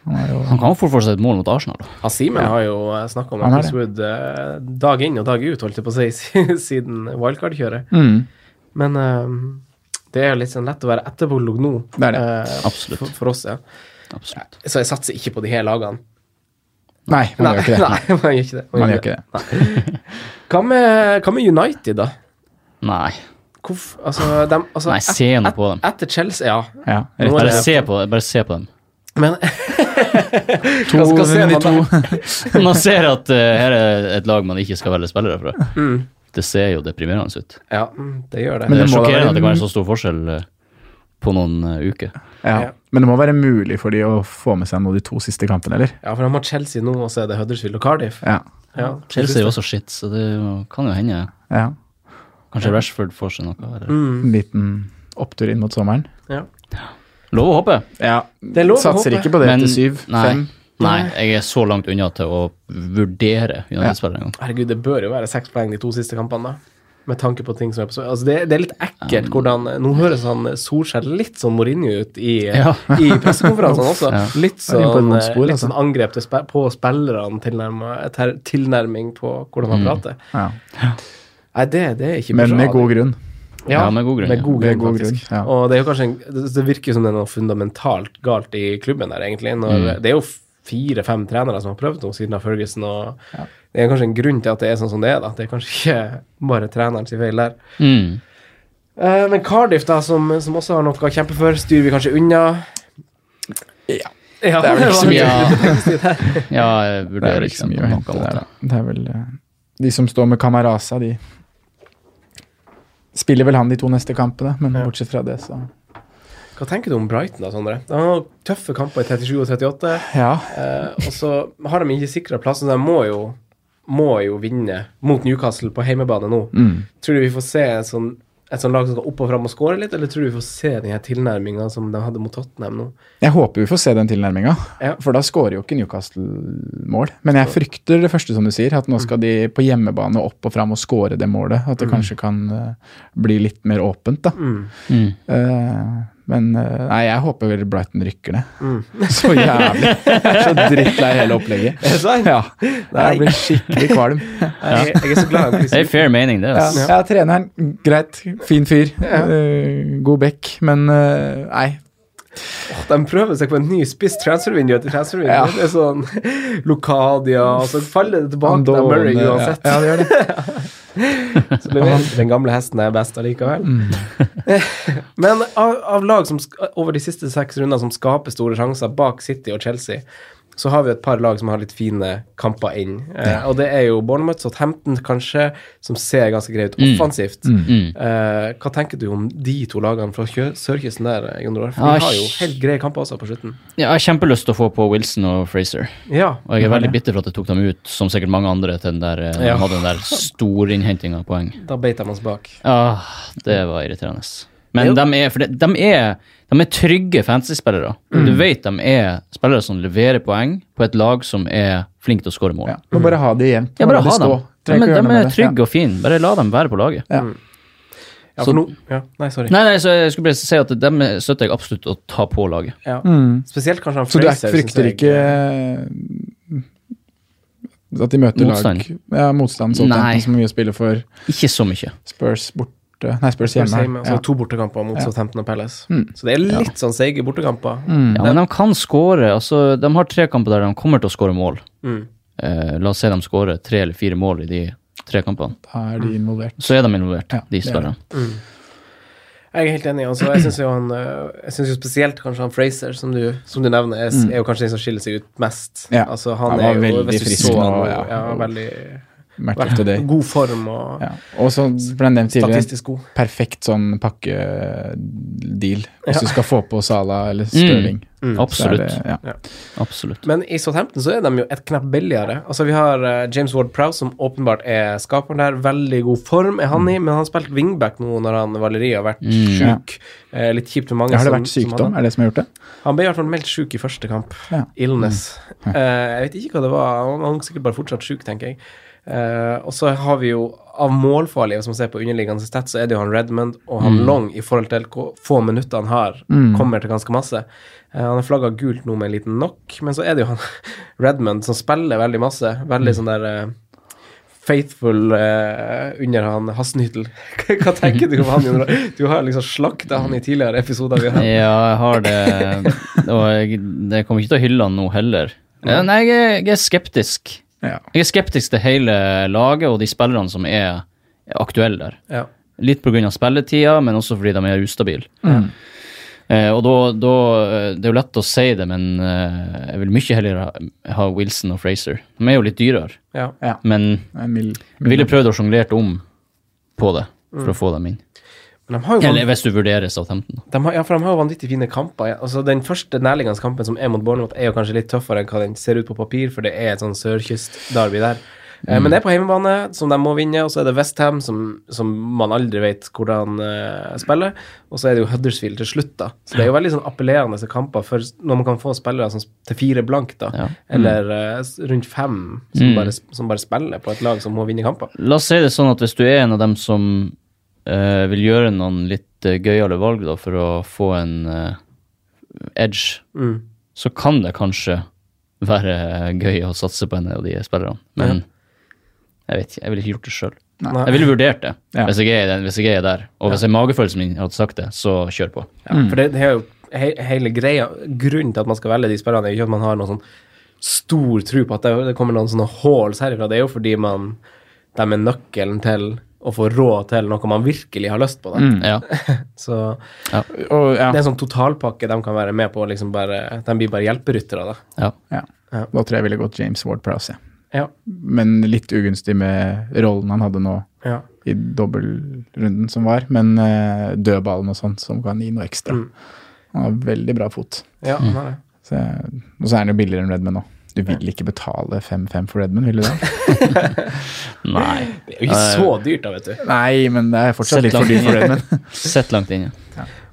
Han, er jo, Han kan jo fort fortsette et mål mot Arsenal. da. Simen har jo snakka om Han har Marcus Wood eh, dag inn og dag ut, holdt jeg på å si, [laughs] siden wildcard-kjøret. mm, Men eh, det er jo litt sånn lett å være etterpåklok nå. Det er det. eh, Absolutt. For, for oss, ja. Absolutt. Så jeg satser ikke på de her lagene. nei, man Nei, gjør ikke [laughs] det. nei, man gjør ikke det. Man gjør ikke det. Hva med, hva med United, da? Nei. Hvorf, altså, dem, altså, Nei, se et- nå et- på dem. Etter Chelsea, ja. Ja, Nå er rett. Bare det- se på, bare se på dem. [laughs] Men To, hva skal se men de man to. Man ser at eh, her er et lag man ikke skal velge spillere fra. Det ser jo deprimerende ut. Ja, mm, det gjør det. Men Det er det må da være sjokkerende at det kan en- være så stor forskjell eh, på noen eh, uker. Ja. Men det må være mulig for de å få med seg noe de to siste kampene, eller? Ja, for de har Chelsea nå, og så er det Huddersfield og Cardiff. Ja. Ja. Chelsea er jo også shit, så det er jo- kan jo hende ja. kanskje Rashford får seg noe. Eller. En liten opptur inn mot sommeren. Lov å håpe. Ja, Det er lov å Satser håpe. ikke på det Men- til syv, nei. fem. Nei, jeg er så langt unna til å vurdere United-spillere engang. Herregud, det bør jo være seks poeng de to siste kampene, da. Med tanke på ting som er på så- Altså, det, det er litt ekkelt hvordan eh, Nå høres han Solskjær litt sånn Mourinho ut i, Ja. i [laughs] pressekonferansene også. Litt er inne på sånn, et vondt spor, litt altså. sånn angrep til spe- på spillerne, tilnærma- ter- tilnærming på hvordan han prater. Ja. Nei, det, det er ikke Mm. Men bra, med det. god grunn. Ja, Ja, med god grunn, Med ja. god Med grunn, god faktisk. grunn, ja. Og det, er jo kanskje, en- det virker som det er noe fundamentalt galt i klubben der, egentlig. Når, Det er jo fire-fem trenere som har prøvd noe siden av Ferguson, og det er kanskje en grunn til at det er sånn som det er, da. Det er kanskje ikke bare trenerens feil der. Mm. Eh, men Cardiff, da, som, som også har noe å kjempe for, styrer vi kanskje unna? Ja. det er vel ikke så Ja, ja jeg Det er vurderer vel ikke ikke så sant mye på å noen hente der, da. måte. Det er vel eh, De som står med Camarasa, de spiller vel han de to neste kampene, men bortsett fra det, så Hva tenker du om Brighton, da, Sondre? De har noen tøffe kamper i 37 og 38. Ja. Eh, og så har de ikke sikra plassen, så de må jo, må jo vinne mot Newcastle på hjemmebane nå. Mm. Tror du vi får se et sånn, et sånn lag som skal opp og fram og skåre litt, eller tror du vi får se den her tilnærminga som de hadde mot Tottenham nå? Jeg håper vi får se den tilnærminga, Ja. for da skårer jo ikke Newcastle mål. Men jeg frykter det første som du sier, at nå skal de på hjemmebane opp og fram og skåre det målet. At det kanskje kan eh, bli litt mer åpent, da. Mm. Eh, men eh, nei, jeg håper vel Brighton rykker ned. [laughs] Så jævlig. Jeg er så drittlei hele [laughs] opplegget. Mm. det sant? Ja. Jeg blir skikkelig [laughs] kvalm. Jeg, jeg er så glad i Chris [laughs] Det er fair mening, det. Ja, Altså. ja treneren, greit. Fin fyr. Eh, god back, men eh, nei. Wood. De prøver seg på en ny spiss transfervindu etter transfervindu. Ja. Det er sånn [laughs] Lokadia, og så faller det tilbake til Andone, Murray ja. uansett. Ja, det gjør det. [laughs] Så leverer den gamle hesten er best allikevel. Mm. [laughs] Men av, av lag som sk- over de siste seks rundene som skaper store sjanser bak City og Chelsea, så har vi et par lag som har litt fine kamper inn. Eh, og det er jo Bournemouth og Hampton, kanskje, som ser ganske greie ut offensivt. Mm. Eh, hva tenker du om de to lagene fra kjø- sørkysten der, eh, Jon Roar? For Ah, de har jo sh- helt greie kamper også på slutten. Jeg har kjempelyst til å få på Wilson og Fraser. Ja. Og jeg er veldig bitter for at jeg tok dem ut, som sikkert mange andre, til den der, eh, når Ja. de hadde den der storinnhentinga av poeng. Da beit de oss bak. Ah, det var irriterende. Men Jo. de er, for de, de er, de er trygge fantasy-spillere. Mm. Du vet de er spillere som leverer poeng på et lag som er flink til å skåre mål. Ja, må bare ha det jevnt. Ja, må bare la det ha stå. dem. Ja, Trenger men ikke gjøre de noe er med det. trygge og fine. Bare la dem være på laget. Ja. Ja, for nå ja, Nei, sorry. Nei, nei, så jeg skulle bare si at dem støtter jeg absolutt å ta på laget. Ja. Spesielt kanskje han Mm. Så du er, Fraser, synes frykter jeg- ikke eh, at de møter Motstand. lag Ja, motstand. Southampton Nei. som er mye å spille for. Ikke så mye. Spurs borte Nei, Spurs hjemme. Spurs hjemme, altså. og så ja. Mm. to bortekamper mot Southampton og Palace. Så det er litt sånn seige bortekamper. Ja, men de kan skåre. Altså, de har tre kamper der de kommer til å skåre mål. Eh, la oss si de skårer tre eller fire mål i de tre kampene. Da er de involvert. Så er de involvert, Ja, de det er spillerne. Jeg er helt enig. Altså, jeg syns jo, han, øh, jeg synes jo spesielt kanskje han Fraser, som du, som du nevner, er, er jo kanskje den som skiller seg ut mest. Mm. Ja. Altså, han, Han var er jo veldig hvis du frisk så nå, han, ja. ja, veldig, Match of the veldig day. god form og Ja. Og så ble det nevnt tidligere statistisk god. perfekt sånn pakkedeal hvis du skal få på Sala Mm. eller Stirling. Mm. Så er Absolutt. det- ja. Absolutt. Men i Southampton så er de jo et knapp billigere. Altså Vi har eh, James Ward-Prowse, som åpenbart er skaperen der. Veldig god form er han i, Mm. men han spilte wingback nå når han Valeri har vært sjuk. Eh, litt kjipt for mange. Ja, Har det som- vært som hadde- sykdom? Er det det som har gjort det? Han ble i hvert fall meldt syk i første kamp. Ja. Mm. Illness. Eh, jeg vet ikke hva det var. Han han var sikkert bare fortsatt syk, tenker jeg. Eh, og så har vi jo av målfarlige, hvis man ser på underliggende stat, så er det jo han Redmond og han Mm. Long i forhold til hvor få minutter han har, Mm. kommer til ganske masse. Eh, han er flagga gult nå med en liten knock, men så er det jo han [laughs] Redmond som spiller veldig masse. Mm. Veldig sånn der eh, faithful eh, under han Hasnytel. [laughs] Hva hva tenker du om han? Jon? Du har liksom slakta han i tidligere episoder vi har hatt. Ja, jeg har det. Og jeg, jeg kommer ikke til å hylle han nå heller. Eh, Nei, jeg er, jeg er skeptisk. Ja. Jeg er skeptisk til hele laget og de spillerne som er er aktuelle der. Ja. Litt pga. spilletida, men også fordi de er ustabile. Mm. Eh, og da, da eh, Det er jo lett å si det, men eh, jeg vil mye heller ha, ha Wilson og Fraser. De er jo litt dyrere, Ja. Ja. men En mild, jeg ville prøvd å sjonglere om på det for å få dem inn. Men de har jo Eller hvis du vurderer Southampton. da. De har, ja, for de har jo vanvittig fine kamper. Ja. Altså, den første nærliggende kampen som er mot Bournemouth, er jo kanskje litt tøffere enn hva den ser ut på papir, for det er et sånn sørkystderby der. Eh, Mm. Men det er på hjemmebane, som de må vinne, og så er det Westham, som, som man aldri vet hvordan eh, spiller, og så er det jo Huddersfield til slutt, da. Så det er jo veldig sånn appellerende så kamper for, når man kan få spillere som, til fire blank, da, Ja. eller eh, s- rundt fem, som, Mm. bare, som bare spiller på et lag som må vinne kamper. La oss si det sånn at hvis du er en av dem som eh, vil gjøre noen litt eh, gøyale valg da, for å få en eh, edge, Mm. så kan det kanskje være gøy å satse på en av de spillerne. Men jeg vet ikke, jeg ville ikke gjort det sjøl. Nei. Jeg ville vurdert det, Ja. hvis, jeg er, i den- hvis jeg er der. Og hvis jeg magefølelsen min hadde sagt det, så kjør på. Ja, For det, det er jo he hele greia Grunnen til at man skal velge de spillerne, er jo ikke at man har noen sånn stor tro på at det, det kommer noen sånne halls herifra. Det er jo fordi man de er nøkkelen til å få råd til noe man virkelig har lyst på. Da. Mm. Ja. Så Og, ja. det er en sånn totalpakke de kan være med på. Liksom bare, de blir bare hjelperyttere, da. ja. Ja. Ja. Da tror jeg jeg ville gått James Ward Prowse. jeg. Ja. Men litt ugunstig med rollen han hadde nå ja. i dobbeltrunden som var. Men eh, dødballen og sånt som kan gi noe ekstra. Mm. Han har veldig bra fot. ja han har det. Så, og så er han jo billigere enn Redman nå. Du vil ikke betale 5-5 for Redman, vil du det? Nei. det er jo ikke så dyrt, da, vet du. Nei, men det er fortsatt Sett litt for langt dyrt for inn i- Redman. Sett langt inne.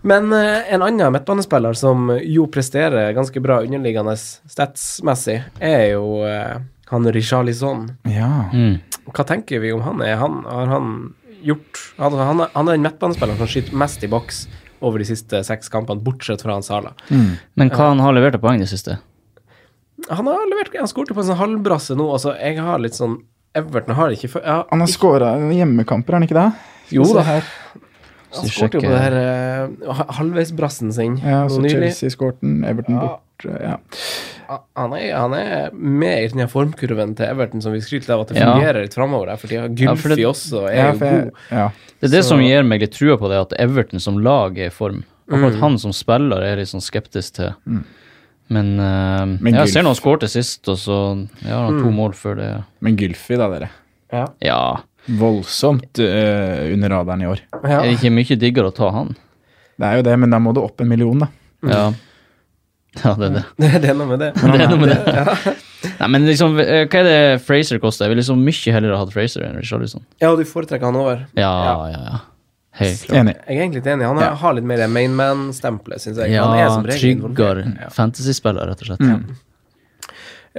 Men eh, en annen midtbanespiller som jo presterer ganske bra underliggende statsmessig, er jo eh, han Richarlison. Ja. Mm. Hva tenker vi om han? Er han har han gjort Han, han, er, han er den midtbanespilleren som skyter mest i boks over de siste seks kampene, bortsett fra han Sala. Men hva han har levert av poeng i det siste? Han har levert Han skårte på en sånn halvbrasse nå. Altså, jeg har litt sånn Everton har ikke før ja, Han har scora hjemmekamper, har han ikke det? Skal Jo vi se da. her. Han skårte jo på det her eh, ha- halvveisbrassen sin Ja, nå så nylig. Chelsea skåret den, Everton Ja. bort eh, ja. Ah, Han er, han er med i den her formkurven til Everton som vi skryter av at det Ja. fungerer litt framover der, for de har Ja, for Gylfi det- også, er Ja, jo for jeg, god. ja. Det er det Så- som gir meg litt trua på det, at Everton som lag er i form. Mm. Akkurat han som spiller er jeg litt sånn skeptisk til. Men, eh, Mm. Men ja, Gylf- jeg ser når han skårte sist, og så ja, han har Mm. to mål før det. Men Gylfi, da, dere. Ja. Ja, Voldsomt eh, under radaren i år. er Ja. det ikke mye diggere å ta han? Det er jo det, men da må du opp en million, da. Mm. Ja. ja, det er det. [laughs] Det er noe med det. Det er noe med det. [laughs] Nei, men liksom, eh, hva er det Fraser koster? Jeg ville liksom mye heller ha hatt Fraser enn Richarlison. Ja, og du foretrekker han over. Ja, ja, ja. Helt klart. Enig. Jeg er egentlig litt enig. Han er, har litt mer mainman-stempelet, syns jeg. Ja, han er som regel Mm. tryggere fantasyspiller, rett og slett.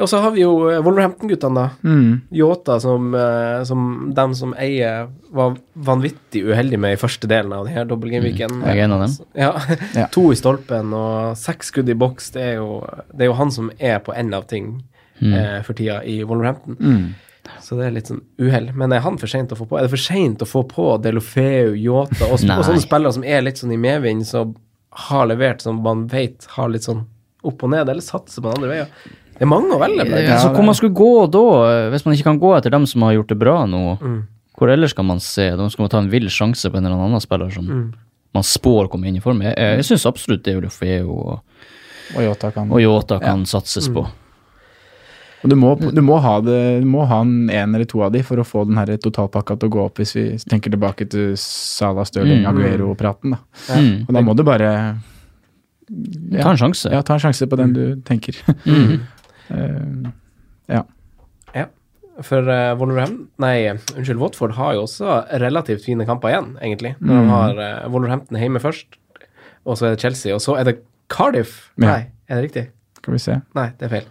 Og så har vi jo eh, Wolverhampton-guttene, da. Mm. Yota, som, eh, som dem som eier, var vanvittig uheldig med i første delen av denne dobbeltgameweeken. Mm, jeg er en av dem. Ja. Ja. [laughs] to i stolpen og seks skudd i boks. Det er jo, det er jo han som er på enden av ting Mm. eh, for tida i Wolverhampton. Så det er litt sånn uhell. Men er han for seint å få på? Er det for seint å få på Delofeu, Yota og, Nei. og sånne spillere som er litt sånn i medvind, som har levert, som man vet har litt sånn opp og ned, eller satser på den andre veien? Det er mange å velge blant. Ja, så hvor man skulle gå da, eh, hvis man ikke kan gå etter dem som har gjort det bra nå, Mm. hvor ellers kan man se? Da skal man ta en vill sjanse på en eller annen spiller som Mm. man spår kommer inn i form. Jeg, jeg syns absolutt det er Olofeo og, Og Jota kan og Yota kan satses Mm. på. Og du, må, du, må ha det, du må ha en, en eller to av de for å få den her totalpakka til å gå opp, hvis vi tenker tilbake til Sala Stirling, Aguero-praten. da. Mm. Og da må du bare Ta en sjanse. ja, ta en sjanse på den du tenker. Mm. [laughs] Eh, ja. Ja, for eh, Wolverhampton Nei, unnskyld, Watford har jo også relativt fine kamper igjen, egentlig. Når Mm. de har eh, Wolverhampton hjemme først, og så er det Chelsea, og så er det Cardiff. Ja. Nei, er det riktig? Skal vi se. Nei, det er feil.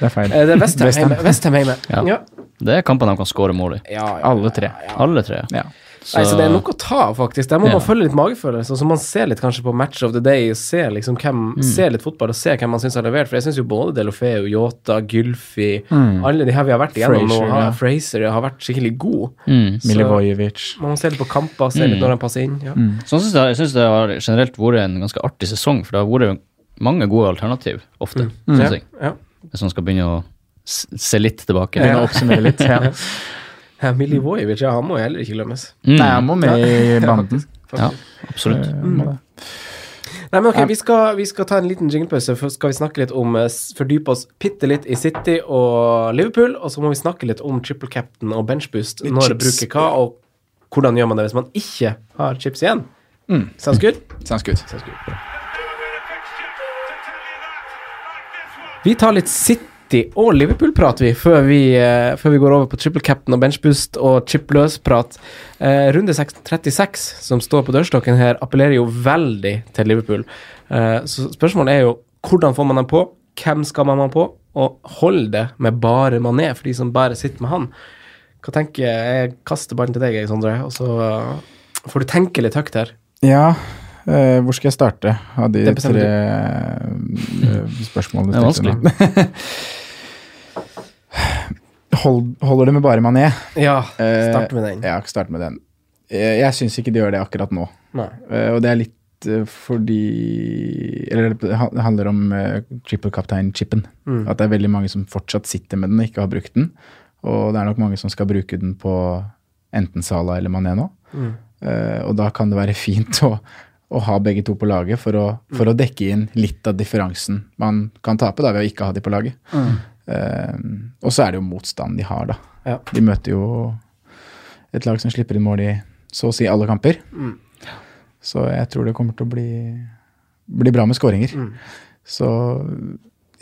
Det er feil. Eh, det er Westham West Ham. hjemme. West Ham hjemme. Ja. Det er kamper de kan skåre mål i. Alle tre. Alle tre. Så... Nei, så det er nok å ta av, faktisk. Der må Ja. man følge litt magefølelse. Så man ser litt kanskje på match of the day og ser, liksom hvem, Mm. ser litt fotball og ser hvem man syns har levert. For jeg syns jo både Delofeo, Yota, Gylfi Mm. Alle de her vi har vært igjennom Fraser, nå, har, ja. Fraser har vært skikkelig god. Mm. Så- Milivojevic. Man må se litt på kamper, se litt Mm. når de passer inn. Ja. Sånn synes jeg, jeg synes det har generelt vært en ganske artig sesong, for det har vært mange gode alternativ, Mm. ofte, synes jeg. Ja. Hvis man skal begynne å s- se litt tilbake. Begynne å oppsummere litt. Ja. Ja, Milivojevic, ja, han må jo heller ikke glemmes. [laughs] Mm. Nei, han må med i banden. Ja, absolutt. Eh, må det. Nei, men ok, vi skal, vi skal ta en liten jinglepause, for skal vi snakke litt om eh, s- Fordype oss bitte litt i City og Liverpool, og så må vi snakke litt om triple captain og benchboost. Når det bruker hva, og hvordan gjør man det hvis man ikke har chips igjen? Mm. Sounds good? Sounds good. Vi tar litt City og Liverpool-prat, vi, før vi, eh, før vi går over på triple captain og benchboost og chip-løs-prat. Eh, runde 6 36, som står på dørstokken her, appellerer jo veldig til Liverpool. Eh, så spørsmålet er jo hvordan får man dem på, hvem skal man ha på, og hold det med bare mané for de som bare sitter med han. Hva tenker jeg? Jeg kaster ballen til deg, jeg, Sondre, og så eh, får du tenke litt høyt her. Ja, eh, hvor skal jeg starte av de Det tre bestemmer eh, spørsmålene? Det er du [laughs] stilte nå? Hold, holder det med bare mané? Ja, Eh, start med den. Ja, start med den. Eh, Jeg syns ikke de gjør det akkurat nå. Nei. Eh, Og det er litt eh, fordi Eller det han- handler om eh, triple captain-chipen. At det er veldig mange som fortsatt sitter med den og ikke har brukt den. Og det er nok mange som skal bruke den på enten Sala eller Mané nå. Eh, Og da kan det være [laughs] fint å, å ha begge to på laget for å, for å dekke inn litt av differansen man kan tape da, ved å ikke ha de på laget. Eh, og så er det jo motstanden de har, da. Ja. De møter jo et lag som slipper inn mål i så å si alle kamper. Så jeg tror det kommer til å bli, bli bra med skåringer. Så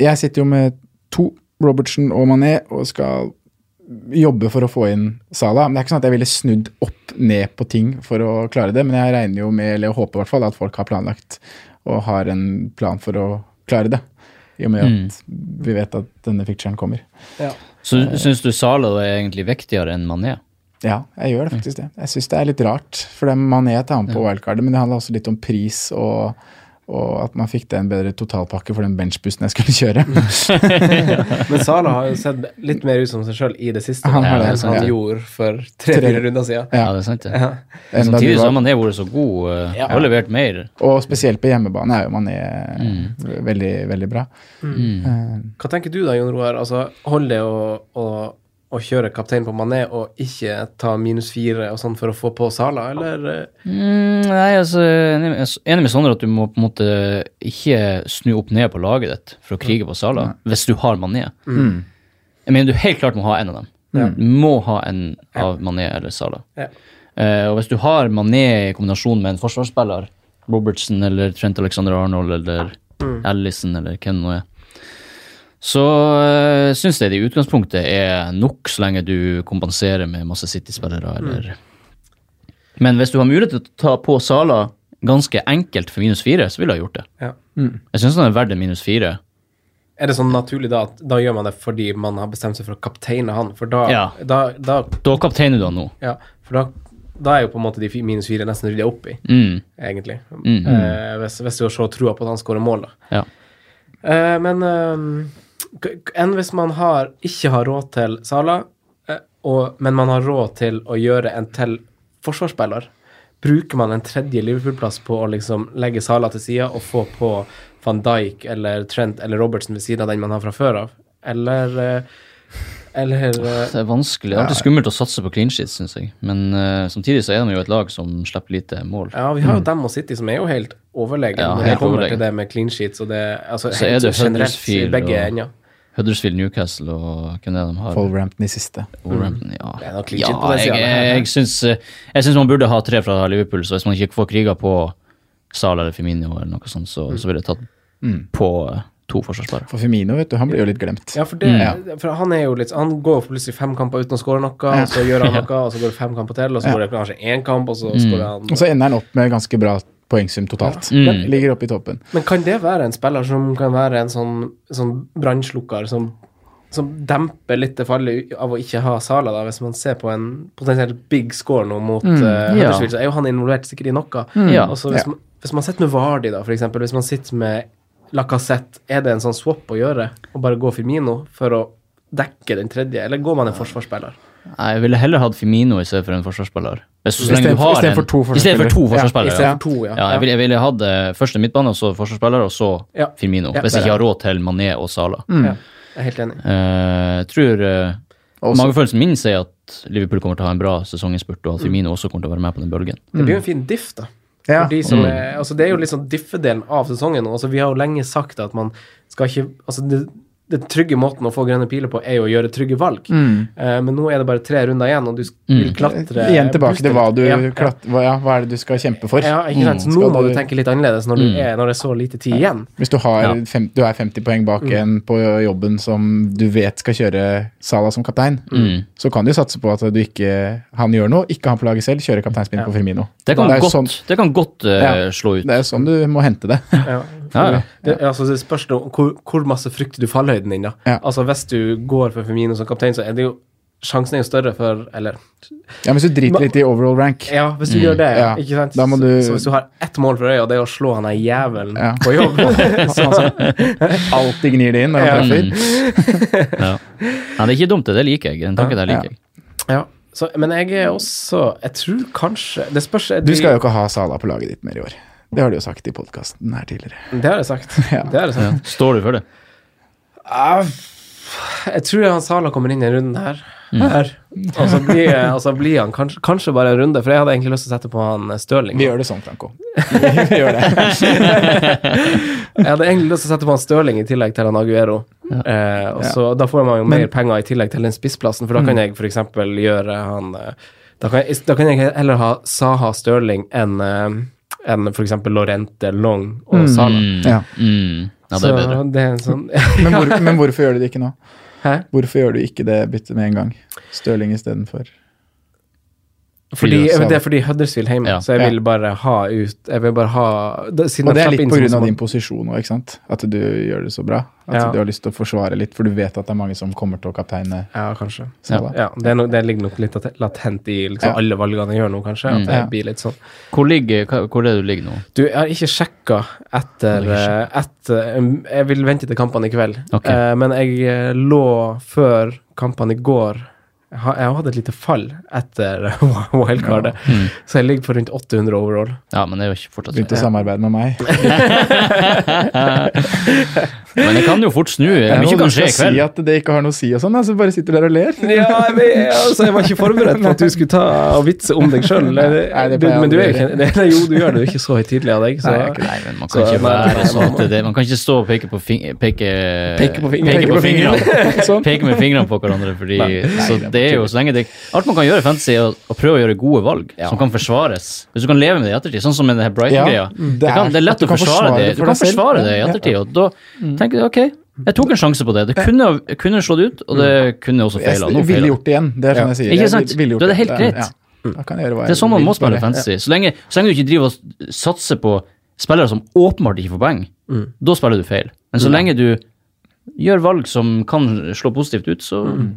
jeg sitter jo med to, Robertsen og Mané, og skal jobbe for å få inn Salah. Men det er ikke sånn at jeg ville snudd opp ned på ting for å klare det, men jeg regner jo med, eller jeg håper i hvert fall, at folk har planlagt og har en plan for å klare det. I og med at vi vet at denne fikturen kommer. Så syns du Sala er egentlig viktigere enn Mané? Ja, jeg gjør det faktisk det. Jeg syns det er litt rart. For det er Mané tar han på wildcardet, men det handler også litt om pris og, og at man fikk det en bedre totalpakke for den benchbussen jeg skulle [laughs] kjøre. Men Sala har jo sett litt mer ut som seg sjøl i det siste Han har enn det, han, ja. gjorde for tre-fire runder siden. Ja. Ja. det er sant det. Enda Samtidig du så var- har Mané vært så god eh, og levert mer. Og spesielt på hjemmebane er jo Mané Mm. veldig, veldig bra. Hva tenker du da, Jon Roar? Altså, hold det å, å, å kjøre kaptein på Mané og ikke ta minus fire og sånn for å få på Sala, eller eh, Mm, nei, altså, jeg er enig med- jeg er enig med Sondre at du må på en måte ikke snu opp ned på laget ditt for å krige på Sala, hvis du har Mané. Jeg mener, du helt klart må ha en av dem. Du må ha en av Mané eller Sala. Ja. Eh, og hvis du har Mané i kombinasjon med en forsvarsspiller, Robertson eller Trent Alexander Arnold eller Allison eller hvem det nå er, så uh, syns jeg det i utgangspunktet er nok, så lenge du kompenserer med masse City-spillere eller men hvis du har mulighet til å ta på Sala ganske enkelt for minus fire, så ville jeg gjort det. Ja. Jeg syns han er verdt en minus fire. Er det sånn naturlig da at da gjør man det fordi man har bestemt seg for å kapteine han? For da, Ja. da, da, Da kapteiner du han nå. ja, for da, da er jo på en måte de fi- minus fire nesten rydda opp i, Mm. egentlig. Mm. Eh, hvis, hvis du har så trua på at han skårer mål, da. Ja. Eh, men ehm, k- k- enn hvis man har, ikke har råd til Sala, eh, og, men man har råd til å gjøre en til forsvarsspiller, bruker man en tredje Liverpool-plass på å liksom legge Sala til sida og få på van Dijk eller Trent eller Robertsen ved siden av den man har fra før av? Eller eh, Eller eh, Det er vanskelig. Det er alltid skummelt å satse på clean sheet, syns jeg. Men eh, samtidig så er de jo et lag som slipper lite mål. Ja, vi har jo dem og City som er jo helt overlegen Mm. Ja, når helt det kommer overlegen. til det med clean sheets og det altså, Så er helt det generelt i Huddersfield begge og- ender. Huddersfield, Newcastle og hvem det er de har? Wolverhampton i siste. Wolverhampton, ja. Det er nok clean ja sheet på den jeg, siden, jeg, jeg, syns, eh, jeg syns man burde ha tre fra Liverpool, så hvis man ikke får kriga på Sala eller Firmino eller noe sånt, Mm. så, så ville jeg tatt på eh, to forsvarsspillere. For Femino, vet du, han blir jo litt glemt. Ja, for, det, Mm. for han er jo litt Han går jo plutselig fem kamper uten å skåre noe, og så gjør [laughs] han noe, og så går det fem kamper til, og så går det kanskje én kamp, og så skårer Og han så ender han opp med ganske bra poengsum totalt. Mm. Ligger oppe i toppen. Men kan det være en spiller som kan være en sånn, sånn brannslukker som som demper litt det fallet av å ikke ha Sala, da, hvis man ser på en potensielt big score nå mot Mm, eh, ja. Huddersfield, så er jo han involvert sikkert i noe. Mm, ja. Og så hvis, Ja. man, hvis man sitter med Vardi, da, for eksempel, hvis man sitter med Lacassette, er det en sånn swap å gjøre? Å bare gå Firmino for å dekke den tredje, eller går man en forsvarsspiller? Nei, Jeg ville heller hatt Femino i stedet for en forsvarsspiller. Hvis, så I lenge stedet- du har i stedet en- for to I stedet for to forsvarsspillere. Ja, forsvarsspillere. i stedet for to, ja. jeg ville, jeg ville hatt eh, først en midtbane, og så forsvarsspiller, og så Ja. Firmino. Ja, hvis det er jeg ikke har råd til Mané og Sala. Mm. Ja, jeg er helt enig. Eh, Jeg tror eh, Også- Magefølelsen min sier at Liverpool kommer til å ha en bra sesonginnspurt, og Mm. at Firmino også kommer til å være med på den bølgen. Det blir jo en Mm. fin diff, da. Ja. For de som Mm. er, altså det er jo liksom diffedelen av sesongen nå. Altså vi har jo lenge sagt at man skal ikke altså det, det trygge måten å få grønne piler på, er jo å gjøre trygge valg. Mm. Eh, men nå er det bare tre runder igjen, og du sk- vil klatre Igjen tilbake til hva du Ja, ja. klat- hva, ja, hva er det du skal kjempe for. Ja, ikke sant? Så Mm. nå Skal Mm. må du tenke litt annerledes når, du er, når det er så lite tid igjen. Hvis du, har Ja. fem, du er 50 poeng bak Mm. en på jobben som du vet skal kjøre Sala som kaptein, Mm. så kan du satse på at du ikke, han gjør noe, ikke han på laget selv, kjører kapteinspinn på Firmino. Det kan er jo godt, sånn- det kan godt eh, Ja. slå ut. Det er jo sånn du må hente det. [laughs] Ja. Ja, ja. Det, altså det spørs nå hvor, hvor masse frykter du fallhøyden din, da. Altså Hvis du går for Femino som kaptein, så er det jo sjansen er jo større for Eller Ja, men Hvis du driter litt i overall rank Ja, hvis du gjør det, ikke sant? Mm. Da må du Så hvis du har ett mål for øya, og det er å slå han der jævelen Ja. [laughs] på jobb [laughs] Sånn som alltid gnir det inn når han Mm. treffer. [laughs] ja. Nei, det er ikke dumt, det. Det liker jeg. Den tanken der liker jeg. Ja. Så, men jeg er også Jeg tror kanskje Det spørs Du skal jo ikke ha Sala på laget ditt mer i år. Det har du jo sagt i podkasten her tidligere. Det har jeg [laughs] sagt. Det har jeg Ja. sagt. Står du for det? Ah, Jeg tror han Sala kommer inn i runden her. Mm. her. Og så blir, og så blir han kanskje, kanskje bare en runde, for jeg hadde egentlig lyst til å sette på han Stirling. Vi gjør det sånn, [laughs] Franco. Vi gjør det. Jeg hadde egentlig lyst til å sette på han Stirling i tillegg til han Aguero. Eh, og så, Da får man jo Men- Mm. mer penger i tillegg til den spissplassen, for da kan jeg f.eks. gjøre han eh, da kan, jeg, da kan jeg heller ha Saha Stirling enn eh, enn for f.eks. Lorente Long og Sala. Mm. Ja. Mm. Ja, det så er bedre. det er en sånn [laughs] [laughs] Men, hvor, men hvorfor gjør du det ikke nå? Hæ? Hvorfor gjør du ikke det byttet med en gang? Støling istedenfor. Fordi, Fordi Sala- det er fordi Huddersfield hjemme, Ja. så jeg Ja. vil bare ha ut Jeg vil bare ha da- siden Og det jeg er slapp litt inn på så grunn av små- din posisjon òg, ikke sant? At du gjør det så bra. At Ja. du har lyst til å forsvare litt, for du vet at det er mange som kommer til å kapteine Ja, kanskje. Sala. Ja, det, er nok- det ligger nok litt at- latent i liksom, Ja. alle valgene jeg gjør nå, kanskje. At Mm. det Ja. blir litt sånn. Hvor, ligger, hva- hvor er det du ligger nå? Du, jeg har ikke sjekka etter, eh, etter um, Jeg vil vente til kampene i kveld. Ok. Eh, men jeg eh, lå før kampene i går Jeg har jeg har hatt et lite fall etter [laughs] wildcardet, så jeg ligger på rundt 800 overall. Hmm. Ja, men det er jo ikke fortsatt Begynte å samarbeide med meg. [laughs] Men det kan jo fort snu. Det er Mye nå kan du skje skal i si kveld. at det ikke har noe å si og sånn, altså bare sitter der og ler. Ja, jeg, vet- altså, jeg var ikke forberedt på at du skulle ta og vitse om deg sjøl. Nei, det pleier jeg Men du er jo aldri å ikke det- [laughs] nei, Jo, du gjør det jo ikke så høytidelig av deg, så Nei, jeg er ikke Nei, men man Så, kan ikke nei, være nei, så man må- til det. Man kan ikke stå og peke på fing, peke, Peke på fingeren. Peke peke på på fingrene. [laughs] Sånn. Peke med fingrene på hverandre. Fordi, så det er det er jo så lenge det Alt man kan gjøre i fantasy, er å, å prøve å gjøre gode valg som kan forsvares. Hvis du kan leve med det i ettertid, sånn som med det her Ja, Brighton-greia. det det, er- kan- det er at lett du å kan forsvare forsvare det. det Du for kan deg selv. forsvare det i Ja, Mm. ja. ettertid, og da tenker du ok, jeg tok en sjanse på det. Det kunne, kunne slått ut, og det kunne også feila. Mm. Jeg Nå ville feila gjort det igjen. Det er sånn jeg sier. Ikke Jeg sant? ville- ville gjort Da er det helt igjen. greit. Ja. Da kan jeg gjøre hva Det er jeg sånn man vil, må spille bare. fantasy. Så, lenge, så lenge du ikke driver og s- satser på spillere som åpenbart ikke får poeng, Mm. da spiller du feil. Men så lenge du gjør valg som kan slå positivt ut, så Mm.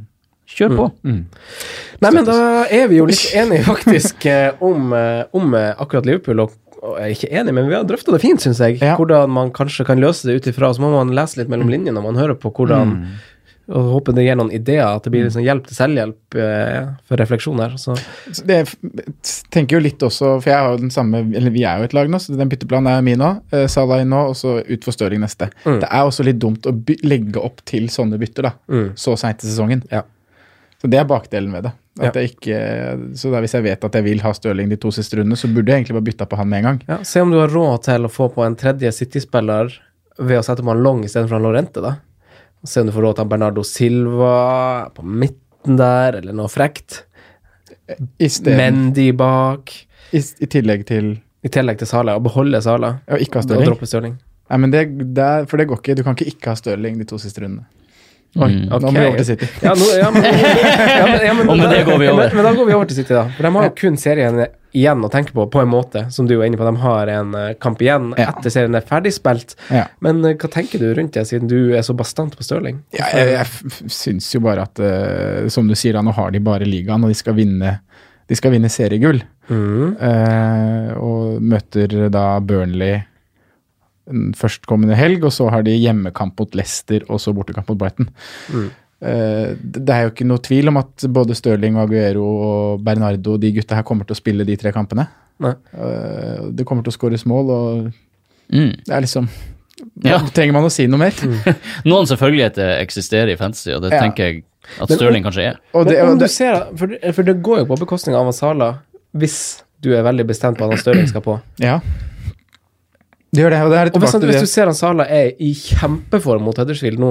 kjør på. Nei, men da er vi jo litt enige faktisk eh, om, eh, om eh, akkurat Liverpool. Og, og jeg er ikke enig, men vi har drøfta det fint, syns jeg. Ja. Hvordan man kanskje kan løse det ut ifra. Så må man lese litt mellom linjene når man hører på hvordan Og håper det gir noen ideer, at det blir liksom hjelp til selvhjelp eh, for refleksjon her. Så Så det jeg tenker jo litt også, for jeg har jo den samme, eller vi er jo et lag nå, så den bytteplanen er min nå. Eh, Salah inn nå, og så ut for Stirling neste. Mm. Det er også litt dumt å by legge opp til sånne bytter da, Mm. så seint i sesongen. Ja. Så det er bakdelen ved det. At Ja. jeg ikke, så da hvis jeg vet at jeg vil ha Stirling de to siste rundene, så burde jeg egentlig bare bytta på han med en gang. ja, se om du har råd til å få på en tredje City-spiller ved å sette på en Long istedenfor en Lorente, da. Og se om du får råd til en Bernardo Silva på midten der, eller noe frekt. I, sted, Mendy bak. i, I tillegg til I tillegg til Sala. Og beholde Sala. å ikke ha Og Stirling. droppe Stirling. Nei, men det, det, er- for det går ikke. Du kan ikke ikke ha Stirling de to siste rundene. Mm. Oi, ja, nå må vi over til City. Ja, nå, ja, men, ja, men, ja, men, Og med det går vi over. Men, men da går vi over til City, da. For de har jo kun serien igjen å tenke på, på en måte, som du er inne på. De har en eh, kamp igjen Ja. etter serien er ferdigspilt. Ja. Men eh, hva tenker du rundt det, siden du er så bastant på Stirling? Ja, jeg jeg f- f- syns jo bare at eh, som du sier, da, nå har de bare ligaen, og de skal vinne, de skal vinne seriegull. Eh, og møter da Burnley den førstkommende helg, og så har de hjemmekamp mot Leicester og så bortekamp mot Brighton. Mm. Eh, det det er jo ikke noe tvil om at både Stirling, Aguero og Bernardo de gutta her kommer til å spille de tre kampene. Nei. Eh, det kommer til å skåres mål, og Mm. det er liksom Ja. Trenger man å si noe mer? Mm. Noen selvfølgeligheter eksisterer i fantasy, og det Ja. tenker jeg at Stirling kanskje er. Og det, men om og du det, ser, da, for, for det går jo på bekostning av Sala hvis du er veldig bestemt på at han Stirling skal på. Ja. Det gjør det, og det Mm. er litt Og hvis, tilbake han, til hvis du det. ser han Sala er i kjempeform mot Huddersfield nå,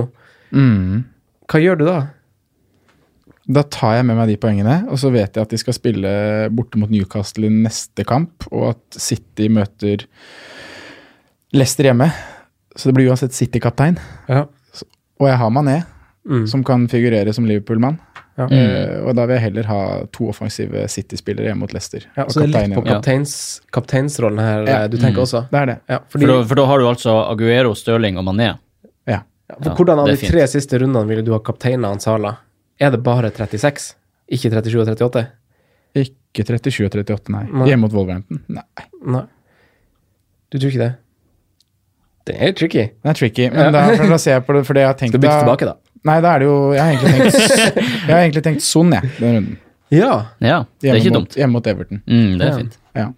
Mm. hva gjør du da? Da tar jeg med meg de poengene, og så vet jeg at de skal spille borte mot Newcastle i neste kamp, og at City møter Leicester hjemme. Så det blir uansett City-kaptein. Ja. Og jeg har Mané, Mm. som kan figurere som Liverpool-mann. Mm. Ja. Eh, og da vil jeg heller ha to offensive City-spillere hjemme mot Leicester. Ja, og så det er kaptein litt på hjemme. Ja. kapteins, kapteinsrollen her Ja. eh, du Mm. tenker også. Det er det. Ja, fordi, For da, for da har du altså Aguero, Stirling og Mané. Ja. ja, for ja, hvordan av det de er fint. tre siste rundene ville du ha kapteina han Sala? Er det bare 36? Ikke 37 og 38? Ikke 37 og 38, nei. Nei. Hjemme mot Wolverhampton. Nei, Nei. Du tror ikke det? Det er tricky. det er tricky. Men da, for da ser jeg på det, for det jeg har tenkt Skal du bytte da- tilbake, da? Nei, da er det jo Jeg har egentlig [laughs] tenkt, jeg har egentlig tenkt Son, jeg, den runden. Ja. Ja, det er Hjemme ikke mot, dumt. Hjemme mot Everton. Mm, det Ja. er fint. Ja.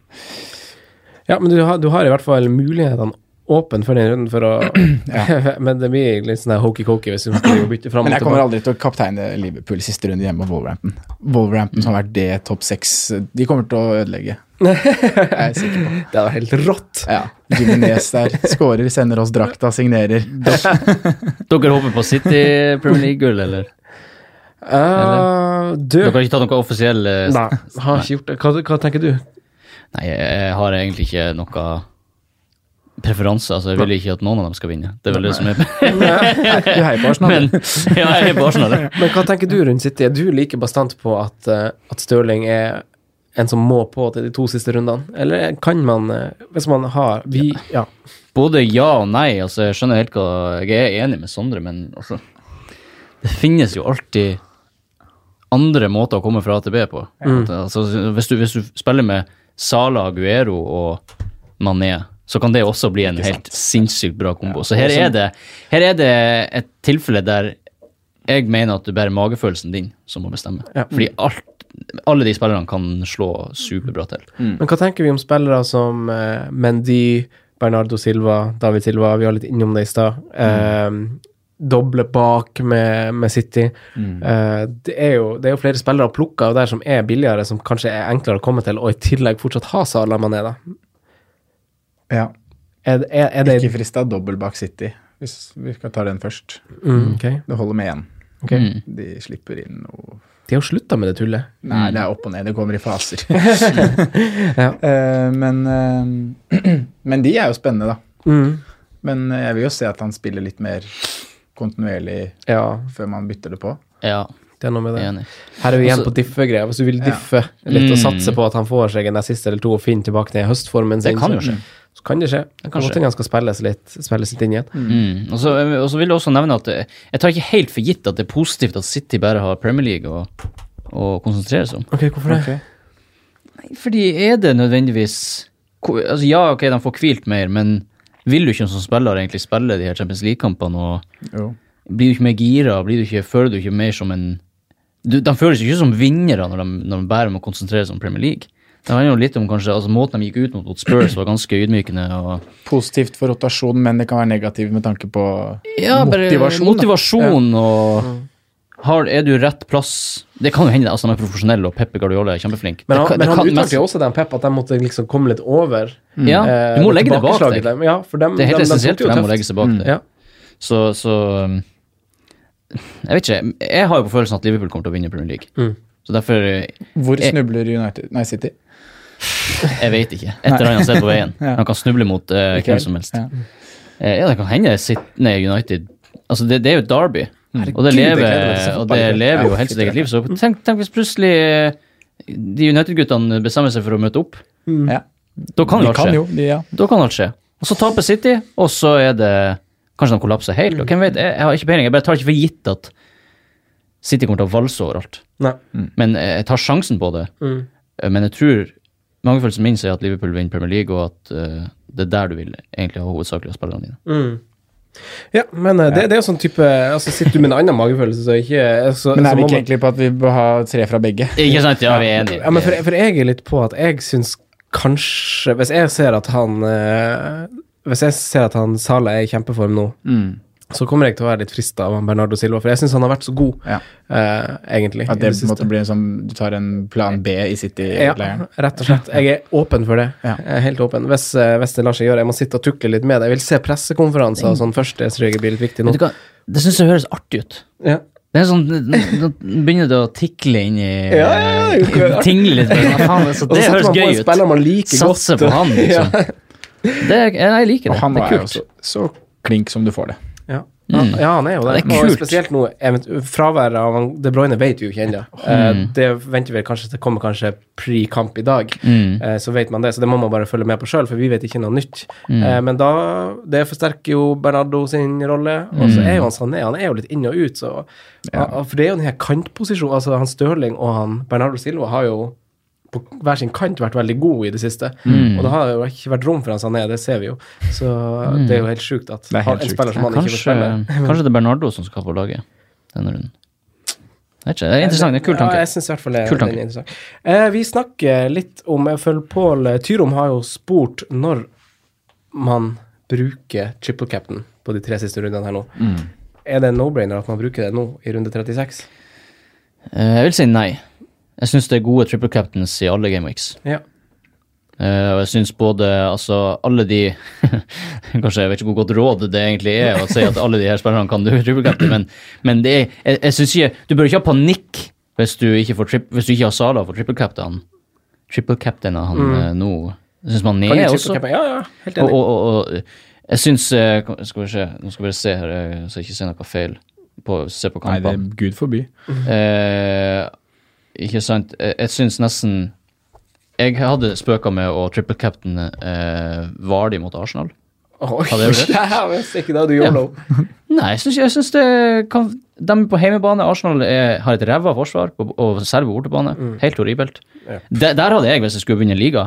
ja men du har, du har i hvert fall mulighetene åpne for den runden for å [laughs] Men det blir litt sånn hokey-cokey hvis du skal bytte fram Men og jeg kommer tilbake. aldri til å kapteine Liverpool i siste runde hjemme mot Wolverhampton. Wolverhampton som har vært det topp seks De kommer til å [laughs] ødelegge. Jeg er sikker på. Det er helt rått. Ja. Jimenez der. Skårer, sender oss drakta, signerer. Dere håper på City Premier League-gull, eller? Eh, du Dere har ikke tatt noe offisiell eh, Nei, har ikke gjort det. Hva, hva tenker du? Nei, jeg har egentlig ikke noe preferanse. Altså, jeg vil ikke at noen av dem skal vinne. Det er vel det som er Du heier på Arsenal. [laughs] Men ja, jeg er sånn på Arsenal. jeg. Men hva tenker du rundt City? Er du like bastant på at, eh, at Stirling er en som må på til de to siste rundene? Eller kan man, eh, hvis man har Vi Ja. Både ja og nei. Altså, jeg skjønner helt hva Jeg er enig med Sondre, men altså Det finnes jo alltid andre måter å komme fra AtB på. Altså, hvis, du, hvis du spiller med Sala, Aguero og Mané, så kan det også bli en helt sinnssykt bra kombo. så her er, det, her er det et tilfelle der jeg mener at det bare er magefølelsen din som må bestemme. Fordi alt, alle de spillerne kan slå superbra til. Men hva tenker vi om spillere som eh, Mendy, Bernardo Silva, David Silva? Vi var litt innom det i stad. Eh, doble bak med, med City. Eh, det, er jo, det er jo flere spillere å plukke av der som er billigere, som kanskje er enklere å komme til, og i tillegg fortsatt ha Salah Mané, da. Ja. Er, det- er, er det Ikke frista dobbel bak City, hvis vi skal ta den først. mm, ok. Det holder med én. Ok. Mm. De slipper inn noe De har slutta med det tullet. Mm. Nei, det er opp og ned. Det kommer i [laughs] faser. Eh, men, eh, [clears throat] men de er jo spennende, da. Mm. Men eh, jeg vil jo se at han spiller litt mer kontinuerlig Ja, før man bytter det på. Ja, det er noe med jeg det. er enig. Her er vi igjen Altså- Mm. på diffe-greia. Hvis du vil diffe litt og satse på at han får seg en assist eller to og finner tilbake til høstformen sin, Det kan jo så- skje. Så kan det skje. Det kan skje. godt hende han skal spilles litt, spilles litt inn igjen. Mm. Og, så, og så vil jeg også nevne at jeg, jeg tar ikke helt for gitt at det er positivt at City bare har Premier League å, å konsentrere seg om. Ok, hvorfor det? Fordi er det nødvendigvis ko- altså Ja, ok, de får hvilt mer, men vil du ikke som spiller egentlig spille de her Champions League-kampene? og Jo. Blir du ikke mer gira? Blir du ikke, føler du ikke mer som en du, De føles ikke som vinnere når de, når de bare må konsentrere seg om Premier League. Det handler jo litt om kanskje, altså Måten de gikk ut mot, mot Spurs, var ganske ydmykende. og Positivt for rotasjon, men det kan være negativt med tanke på Ja, bare motivasjon. motivasjon, da. og Mm. har, Er du rett plass? Det kan jo hende, altså, han er profesjonell, og Peppe Guardiola er kjempeflink. Men han, det men kan, det han kan uttalte jo Mm. også den pep at de måtte liksom komme litt over. eh, Ja, du må legge det bak deg. Dem. Ja, for dem, Det er dem, helt essensielt for dem å legge seg bak det. Mm. Ja. Så, så um, Jeg vet ikke. Jeg har jo på følelsen at Liverpool kommer til å vinne Premier League. Mm. Så derfor eh, Hvor snubler United Nei, City. Jeg vet ikke. Et eller annet sted på [laughs] veien. Ja. Han kan snuble mot eh, hvem som helst. Ja. Eh, Ja, det kan hende Sit- nei, United Altså, det, det er jo et derby. Og det Herregud, jeg lever, gleder meg til å se og fotball det igjen. lever Ja, jo helt sitt eget liv. Så tenk, tenk hvis plutselig eh, de United-guttene bestemmer seg for å møte opp. Ja. Da Mm. kan De jo alt kan skje. jo, de, ja. Da kan alt skje. Og så taper City, og så er det Kanskje de kollapser helt. Mm. Og hvem vet, jeg, jeg har ikke peiling. Jeg bare tar ikke for gitt at City kommer til å valse overalt. Nei. Men eh, jeg tar sjansen på det. Mm. Eh, Men jeg tror mange følelser min sier at Liverpool vinner Premier League, og at eh, det er der du vil egentlig ha hovedsakelig av spillerne dine. Mm. Ja, men eh, det, det er jo sånn type altså Sitter du med en annen magefølelse, så ikke eh, så, Men er så vi må ikke man- egentlig på at vi bør ha tre fra begge? Ikke sant? Ja, vi er enige. Ja, men for, for jeg er litt på at jeg syns kanskje Hvis jeg ser at han eh, Hvis jeg ser at han Sala er i kjempeform nå, Mm. så kommer jeg til å være litt frista av han Bernardo Silva, for jeg syns han har vært så god, Ja. eh, egentlig. At i det det på en siste. måte blir en sånn Du tar en plan B i ja, City-leiren. rett [laughs] og slett. Jeg er åpen for det. Ja. Jeg er helt åpen. Hvis, eh, hvis det lar seg gjøre. Jeg må sitte og tukle litt med det. Jeg vil se pressekonferanser og sånn først. Det tror jeg blir litt viktig nå. Vet du hva? Det syns jeg høres artig ut. Ja. Det er sånn, Nå nå begynner det å tikle inn i Ja, ja, ja, jo. Tingle litt. Men, faen, [laughs] altså, Og så det setter man høres på en gøy ut. spiller man liker godt. Satse på [laughs] han, liksom. Det, er- jeg liker Og det. han Det er er jo kult. så, så klink som du får det. Ja. ja, han er jo det. Ja, det er Og kult. spesielt nå, event- fraværet av han- De Bruyne vet vi jo ikke ennå. Eh, Det venter vi kanskje Det kommer kanskje pre-kamp i dag, Mm. eh, så vet man det. Så det må man bare følge med på sjøl, for vi vet ikke noe nytt. Eh, Men da Det forsterker jo Bernardo sin rolle, og så er jo han Sané. Han er jo litt inn og ut, så ja. For det er jo den her kantposisjonen. Altså, han Stirling og han Bernardo Silva har jo på hver sin kant vært veldig god i det siste. Og det har jo ikke vært rom for han Sané, det ser vi jo. Så det er jo helt sjukt at er helt han- en sjukt. spiller som Ja, han ikke får kanskje, spille kanskje det er Bernardo som skal få laget denne runden. Det er, ikke, det er interessant. Det er en kul Ja, tanke. jeg synes i hvert fall det Kul den tanke. er interessant. Eh, vi snakker litt om jeg følger Pål eh, Tyrom har jo spurt når man bruker triple cap'n på de tre siste rundene her nå. Mm. Er det en no-brainer at man bruker det nå i runde 36? Eh, Jeg vil si nei. Jeg syns det er gode triple captains i alle gameweeks. Ja. Eh, og jeg syns både altså alle de [laughs] Kanskje jeg vet ikke hvor godt råd det egentlig er å si at alle de her spillerne kan du triple captain, men, men det er, jeg, jeg synes ikke Du bør ikke ha panikk hvis du ikke, får tripp- hvis du ikke har Sala for triple captain. Triple captain av han eh, nå. Jeg syns man Mm. Kan er du også triple cap'n? Ja, ja, helt og, enig. og, og, og jeg syns eh, Skal vi se, nå skal vi bare se her, eh, så jeg ikke sier noe feil. På, se på Nei, det er kampene. gud forby. Eh, ikke sant. Eh, Jeg syns nesten Jeg hadde spøka med å triple captain eh, Vardy mot Arsenal. Oi, Ja, det er det. [laughs] ja, hvis ikke da, du yolo. Nei, jeg syns, jeg syns det kan De er på hjemmebane, Arsenal er, har et ræva forsvar, og, og Serbo bortebane. Mm. Helt horribelt. Der, der hadde jeg, hvis jeg skulle vinne liga,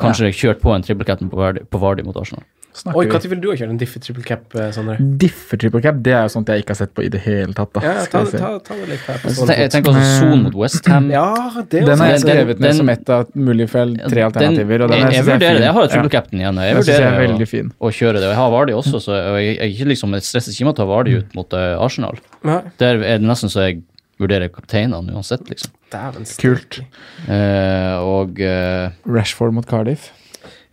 kanskje kjørt på en triple captain på Vardy, på Vardy mot Arsenal. Snakker Oi, vi- når vil du ha kjørt en diff i triple cap, eh, Sondre? Differ triple cap, det er jo sånt jeg ikke har sett på i det hele tatt. Da. Ja, ja, ta, Skal vi se. ta, ta det litt her på Jeg, stående tenker- jeg fot. tenker også Son mot Westham. Ja, det er jo Den har sant. jeg Altså, Den- skrevet ned den- som ett av mulige feil, tre alternativer. Og den jeg, jeg, synes vurderer fin. det. Jeg har jo triple Ja. captain igjen. og Jeg, Den synes jeg er vurderer å- veldig fin. å kjøre det. Og jeg har Vardy også, så jeg, jeg, er ikke liksom, jeg stresser ikke med å ta Vardy ut mot eh, Arsenal. Nei. Der er det nesten så jeg vurderer kapteinene uansett, liksom. Dæven steike. Kult. Eh, og eh, Rashford mot Cardiff.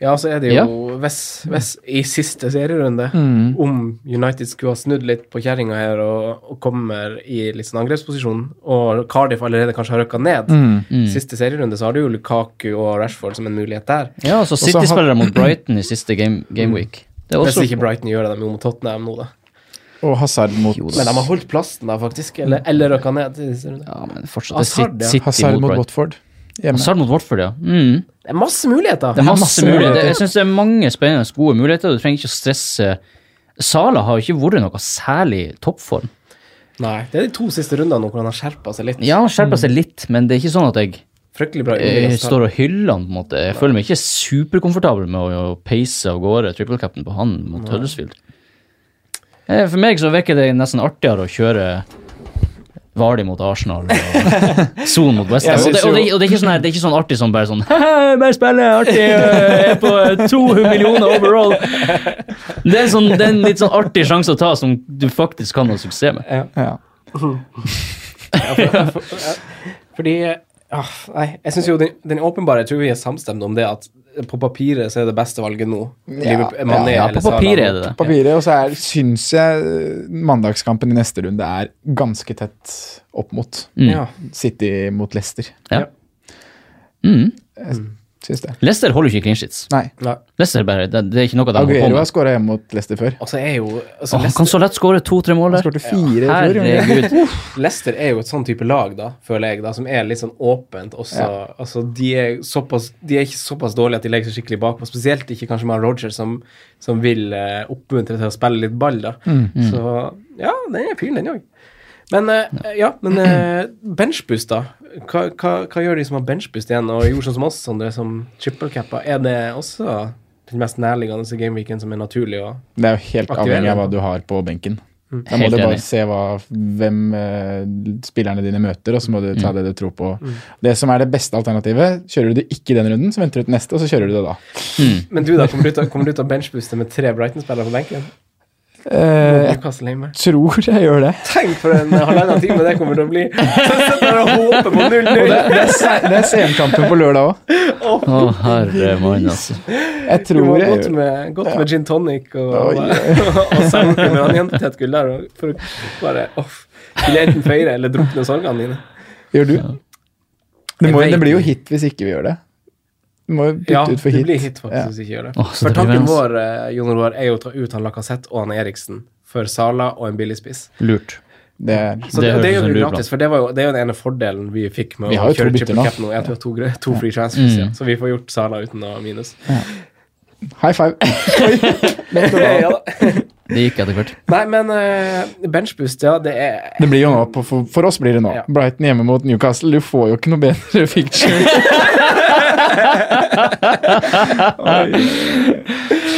Ja, så er det jo hvis- hvis i siste serierunde, Mm. om United skulle ha snudd litt på kjerringa her og, og kommer i litt sånn angrepsposisjon, og Cardiff allerede kanskje har røkka ned, Mm. siste serierunde, så har du jo Lukaku og Rashford som en mulighet der. Ja, altså så har- City-spillere mot Brighton i siste game, game week. Det er Hvis også ikke Brighton gjør det, de er jo mot Tottenham nå, da. Og Hazard mot Men de har holdt plassen, da, faktisk. Eller, eller røkka ned. i siste runde. Ja, men fortsatt det er Hazard, City, ja. City Hazard mot mot Brighton. Watford. Hjemme. Hazard mot Watford, ja. Mm. Det er masse muligheter! Det er masse, masse muligheter. muligheter. Jeg syns det er mange spennende, gode muligheter. Du trenger ikke å stresse. Sala har jo ikke vært noe særlig toppform. Nei, det er de to siste rundene nå hvor han har skjerpa seg litt. Ja, han skjerpa seg litt, men det er ikke sånn at jeg, Fryktelig bra. jeg underleggingstall. Eh, står og hyller han, på en måte. Jeg føler meg ikke superkomfortabel med å, å peise av gårde triple cap'n på han mot Huddersfield. Eh, For meg så virker det nesten artigere å kjøre Vardi mot Arsenal og [laughs] Son mot West Ham. Jeg Og, det, synes og, det, jo- og det, er ikke sånn her, det er ikke sånn artig som bare sånn [laughs] «Haha, Bare spille [laughs] artig! Jeg er på 200 millioner overall! Det er, sånn, det er en litt sånn artig sjanse å ta som du faktisk kan ha suksess med. Ja. Fordi ah, Nei, jeg syns jo den, den åpenbare Jeg tror vi er samstemte om det at på papiret så er det beste valget nå. Liverpool- Mané Ja, eller på Salah. papiret er det det. Papiret, og så er, syns jeg eh, mandagskampen i neste runde er ganske tett opp mot Mm. Ja. City mot Leicester. Ja. Mm. syns jeg. Leicester holder jo ikke clean sheets. Nei. Leicester bare, det, det er ikke noe de holder på Aguero har med. skåra hjemme mot Leicester før. Altså, er jo altså, Å, han kan så lett skåre to-tre mål der. Skårte fire i fjor. gjorde han ikke? Herregud. Leicester er jo et sånn type lag, da, føler jeg, da, som er litt sånn åpent også. Altså, de, er såpass, de er ikke såpass dårlige at de legger seg skikkelig bakpå. Spesielt ikke kanskje med han Roger, som, som vil eh, oppmuntre til å spille litt ball. da. Så ja, den er fin, den òg. Men, eh, ja, men eh, benchboost, da. Hva, hva, hva gjør de som har benchboost igjen, og gjorde sånn som oss, Sondre, som trippelcappa? Er det også den mest nærliggende gameweeken som er naturlig å Det er jo helt Aktiverer avhengig av hva den. du har på benken. Da må Helt du bare enig. se hva, hvem eh, spillerne dine møter, og så må du Mm. ta det du tror på. Det som er det beste alternativet, kjører du det ikke i den runden, så venter du til neste, og så kjører du det da. Men du, da? Kommer du til, å- kommer du til å benchbooste med tre Brighton-spillere på benken? Eh, Newcastle hjemme. jeg tror jeg gjør det. Tenk for en halvannen time det kommer til å bli! Så sitter jeg og håper på Og det, 0-0! det er, se- det er CM-kampen på lørdag òg. Å, herre mann, altså. Jeg Du må ha tror jeg gått gjør det. med, godt med gin tonic og, Oi. og sanke med han jentetett gull der og for å bare off. Vil enten feire eller drukne sorgene dine. Gjør du? Det, Jeg må, vet det blir jo ikke. hit hvis ikke vi gjør det. Du må jo putte Ja, ut for det hit. blir hit faktisk Ja. hvis ikke gjør det. Åh, så for driver tanken han, altså. vår eh, Jon Roar, er jo å ta ut han Lacassette og han Eriksen for Sala og en billigspiss. Lurt. Det er, Så Det det, det, gjør høres ut som en vi lur gratis, for det, var jo, det er jo den ene fordelen vi fikk med å Vi har jo to kjøre bytter triple nå. Mm. cap nå. Jeg tror to, gre- to free transfers, ja. så vi får gjort Sala uten å ha minus. [laughs] high five. ja, da. Det gikk etter hvert. Nei, men eh, benchboost, ja, det er Det blir jo nå, på, for, for oss blir det nå. Ja. Brighton hjemme mot Newcastle. Du får jo ikke noe bedre [laughs] fiction.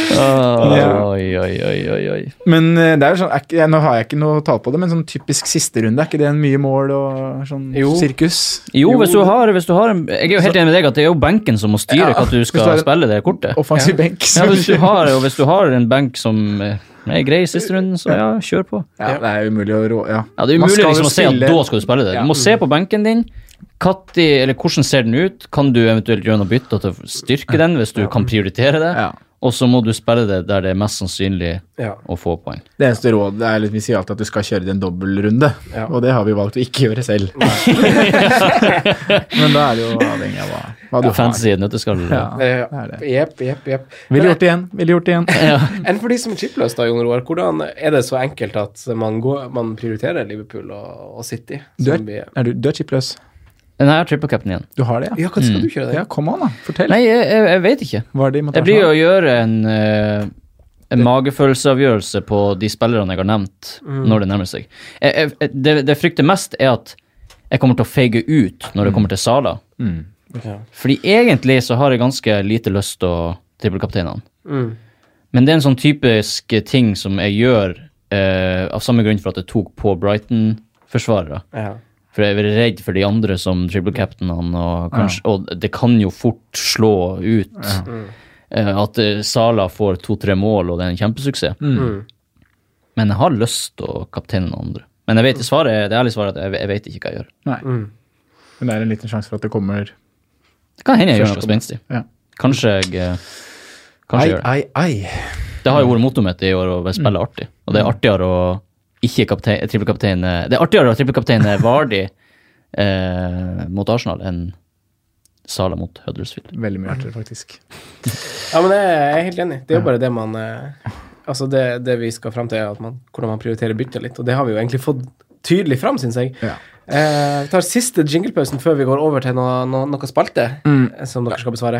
Oi, oi, oi, oi, oi. Men eh, det er jo sånn, er ikke- jeg, nå har jeg ikke noe tall på det, men sånn typisk siste runde, er ikke det en mye mål og sånn Jo. sirkus? Jo, hvis du har, hvis du har en, Jeg er jo helt enig med deg at det er jo benken som må styre Ja, hva du hvis du skal har en- spille det kortet. Offensiv benk. Ja, så- hvis [laughs] du har, og hvis du har en benk som eh, er grei i siste runden, så ja, kjør på. Ja, det er umulig å rå... Ja. Ja, det er Man umulig skal liksom jo å si at spille- da skal du spille det. Du må se på benken din. Katti, eller Hvordan ser den ut? Kan du eventuelt gjøre noe bytte til å styrke den, hvis du kan prioritere det? Ja. Og så må du spille det der det er mest sannsynlig Ja. å få poeng. Det eneste rådet er litt, vi sier alltid at du skal kjøre det en dobbeltrunde, Ja. og det har vi valgt å ikke gjøre selv. [laughs] Men da er det jo avhengig av hva, hva du har. Fancy nøtteskall. Ja, Ja. det Eh, Ja, er det. Jepp, jepp, jepp. Ville gjort det igjen, ville gjort det igjen. eh, Enn for de som er chipløse, da, Jon Roar. Hvordan er det så enkelt at man, går, man prioriterer Liverpool og, og City? Du som er, vi- er du, du er chipløs. Nei, jeg har triple cap'n igjen. Du har det, Ja, hva skal du kjøre Mm. Ja, der? kom an, da. Fortell. Nei, jeg, jeg, jeg vet ikke. Hva er det imot Jeg blir jo å gjøre en, eh, en magefølelseavgjørelse på de spillerne jeg har nevnt, når det nærmer seg. Jeg, jeg, jeg- det, det jeg frykter mest, er at jeg kommer til å feige ut når det kommer til Sala. Fordi egentlig så har jeg ganske lite lyst til å trippelkapteine han. Mm. Men det er en sånn typisk ting som jeg gjør eh, av samme grunn for at jeg tok på Brighton-forsvarere. Ja. For jeg er veldig redd for de andre som trippelkapteinene, og, kanskje- og det kan jo fort slå ut eh, at eh, Sala får to-tre mål, og det er en kjempesuksess. Men jeg har lyst til å kapteine noen andre. Men jeg vet det svaret, er- det ærlige svaret er at jeg, jeg vet ikke hva jeg gjør. Nei. Men det er en liten sjanse for at det kommer Det kan hende jeg gjør Første noe spenstig. Ja. Kanskje jeg eh, Ei, Kanskje jeg gjør det. ei, ei. Det har jo vært mottoet mitt i år å spille Mm. artig. Og det er artigere å ikke kapte- trippelkaptein eh, Det er artigere å trippelkapteine Vardi [laughs] eh, mot Arsenal enn Sala mot Huddersfield. Veldig mye artigere, faktisk. ja, men jeg er helt enig. Det er jo bare det man eh, Altså, det, det vi skal fram til, er at man, hvordan man prioriterer byttet litt, og det har vi jo egentlig fått tydelig fram, syns jeg. Ja. Eh, vi tar siste jinglepausen før vi går over til noe, noe, noe spalte Mm. eh, som dere skal besvare.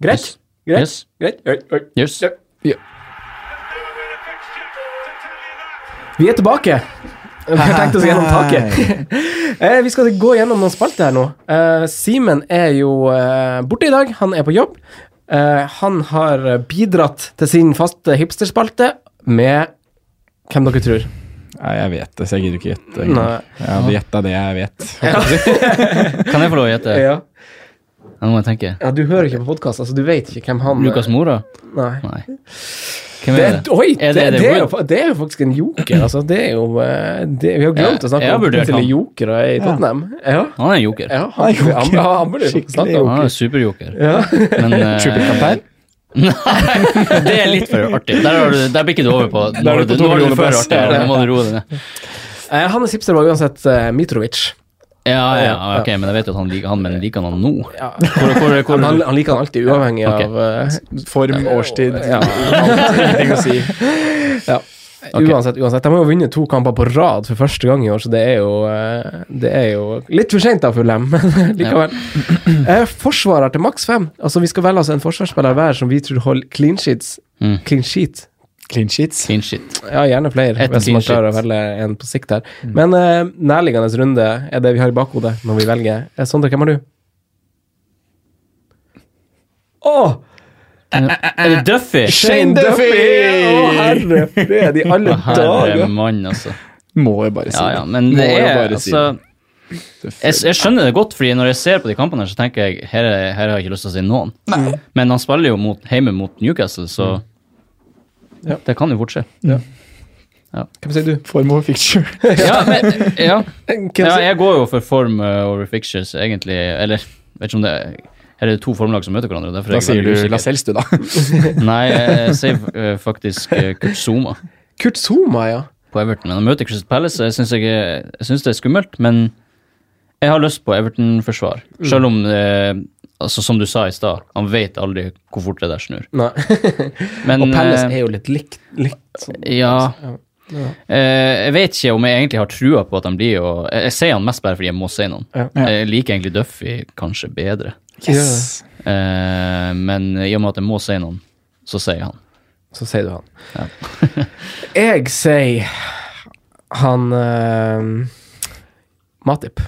Greit? Greit? Yes. Greit? Oi, oi. Yes. Ja. Vi er tilbake! Vi har tenkt oss gjennom taket. [laughs] Eh, vi skal gå gjennom noen spalter her nå. Eh, Simen er jo eh, borte i dag. Han er på jobb. Eh, han har bidratt til sin faste hipsterspalte med hvem dere tror. Nei, jeg vet det, så jeg gidder ikke gjette. egentlig. Nei. Jeg hadde gjetta det jeg vet. [laughs] Kan jeg få lov å gjette? Ja. Nå må jeg tenke. ja, du hører ikke på podkast, altså du vet ikke hvem han Lukas Mora? Nei. Nei. Hvem Det er er, det? oi, Er det, det- er det det, er jo, Wood? fa- det er jo faktisk en joker, altså. Det er jo eh, det, Vi har glemt å Jeg snakke har om vurdert potensielle han. jokere i Tottenham. Ja, Han er en joker. ja han, han, han, burde vi Skikkelig snakke om. Han er en superjoker. Ja. [laughs] Men eh, [laughs] Trippelkaptein? det er litt for artig. Der, har du, der blir ikke du over på Nå er er du du, på to nå er du millioner [laughs] for plass. artig. Nå må du roe deg ned. Eh, Hannes hipster var uansett eh, Mitrovic. Ja, ja, ok, men jeg vet jo at han, lik- han men liker han han nå. Hvor, han, han liker han alltid, uavhengig Ok. av eh, Form, årstid Ja. alt, Ingenting å si. [laughs] ja. Ok. Eh, Uansett, uansett. De har jo vunnet to kamper på rad for første gang i år, så det er jo, eh, det er jo litt for seint da, Fulham, [laughs] men likevel. Eh, Forsvarer til maks fem. Altså, vi skal velge oss en forsvarsspiller hver som vi tror holder clean sheets. Mm. Clean sheet. Clean sheets. Clean shit. Ja, gjerne flere, Et hvis man clean klarer å sheet. Mm. velge en på sikt her. Men eh, nærliggende runde er det vi har i bakhodet når vi velger. Eh, Sondre, hvem har du? Å! Er det Duffy? Shane Duffy! Å, herre fred i alle Herre dager! mann, altså. Må jeg bare si. Ja, ja, men Må det jeg er bare si altså det. jeg, jeg skjønner det godt, fordi når jeg ser på de kampene, her, så tenker jeg her, er- her har jeg ikke lyst til å si noen. Men han spiller jo mot, hjemme mot Newcastle, så Mm. Ja. det kan jo fort skje. [laughs] Hvem sier du? Form over picture. Ja, men, ja. Hvem ja, sier- jeg går jo for form eh, over fixtures, egentlig. Eller vet ikke om det er her er det to formlag som møter hverandre. Derfor Da er jeg sier veldig du usikker. Lascelles, du, da. [laughs] Nei, jeg jeg sier eh, faktisk eh, Kurt Zuma Kurt Zuma, ja. på Everton. Men han møter Crystal Palace, og jeg syns det er skummelt. Men jeg har lyst på Everton-forsvar. Mm. Selv om, eh, altså, som du sa i stad, han vet aldri hvor fort det der snur. Nei. Men, og Palace eh, er jo litt likt. likt sånn. Ja. Ja. Eh, jeg vet ikke om jeg egentlig har trua på at han blir å Jeg, jeg sier han mest bare fordi jeg må si noen. Ja. Jeg liker egentlig Duffy kanskje bedre, Yes. Eh, men i og med at jeg må si noen, så sier jeg han. Så sier du han. [laughs] jeg sier han eh, Matip.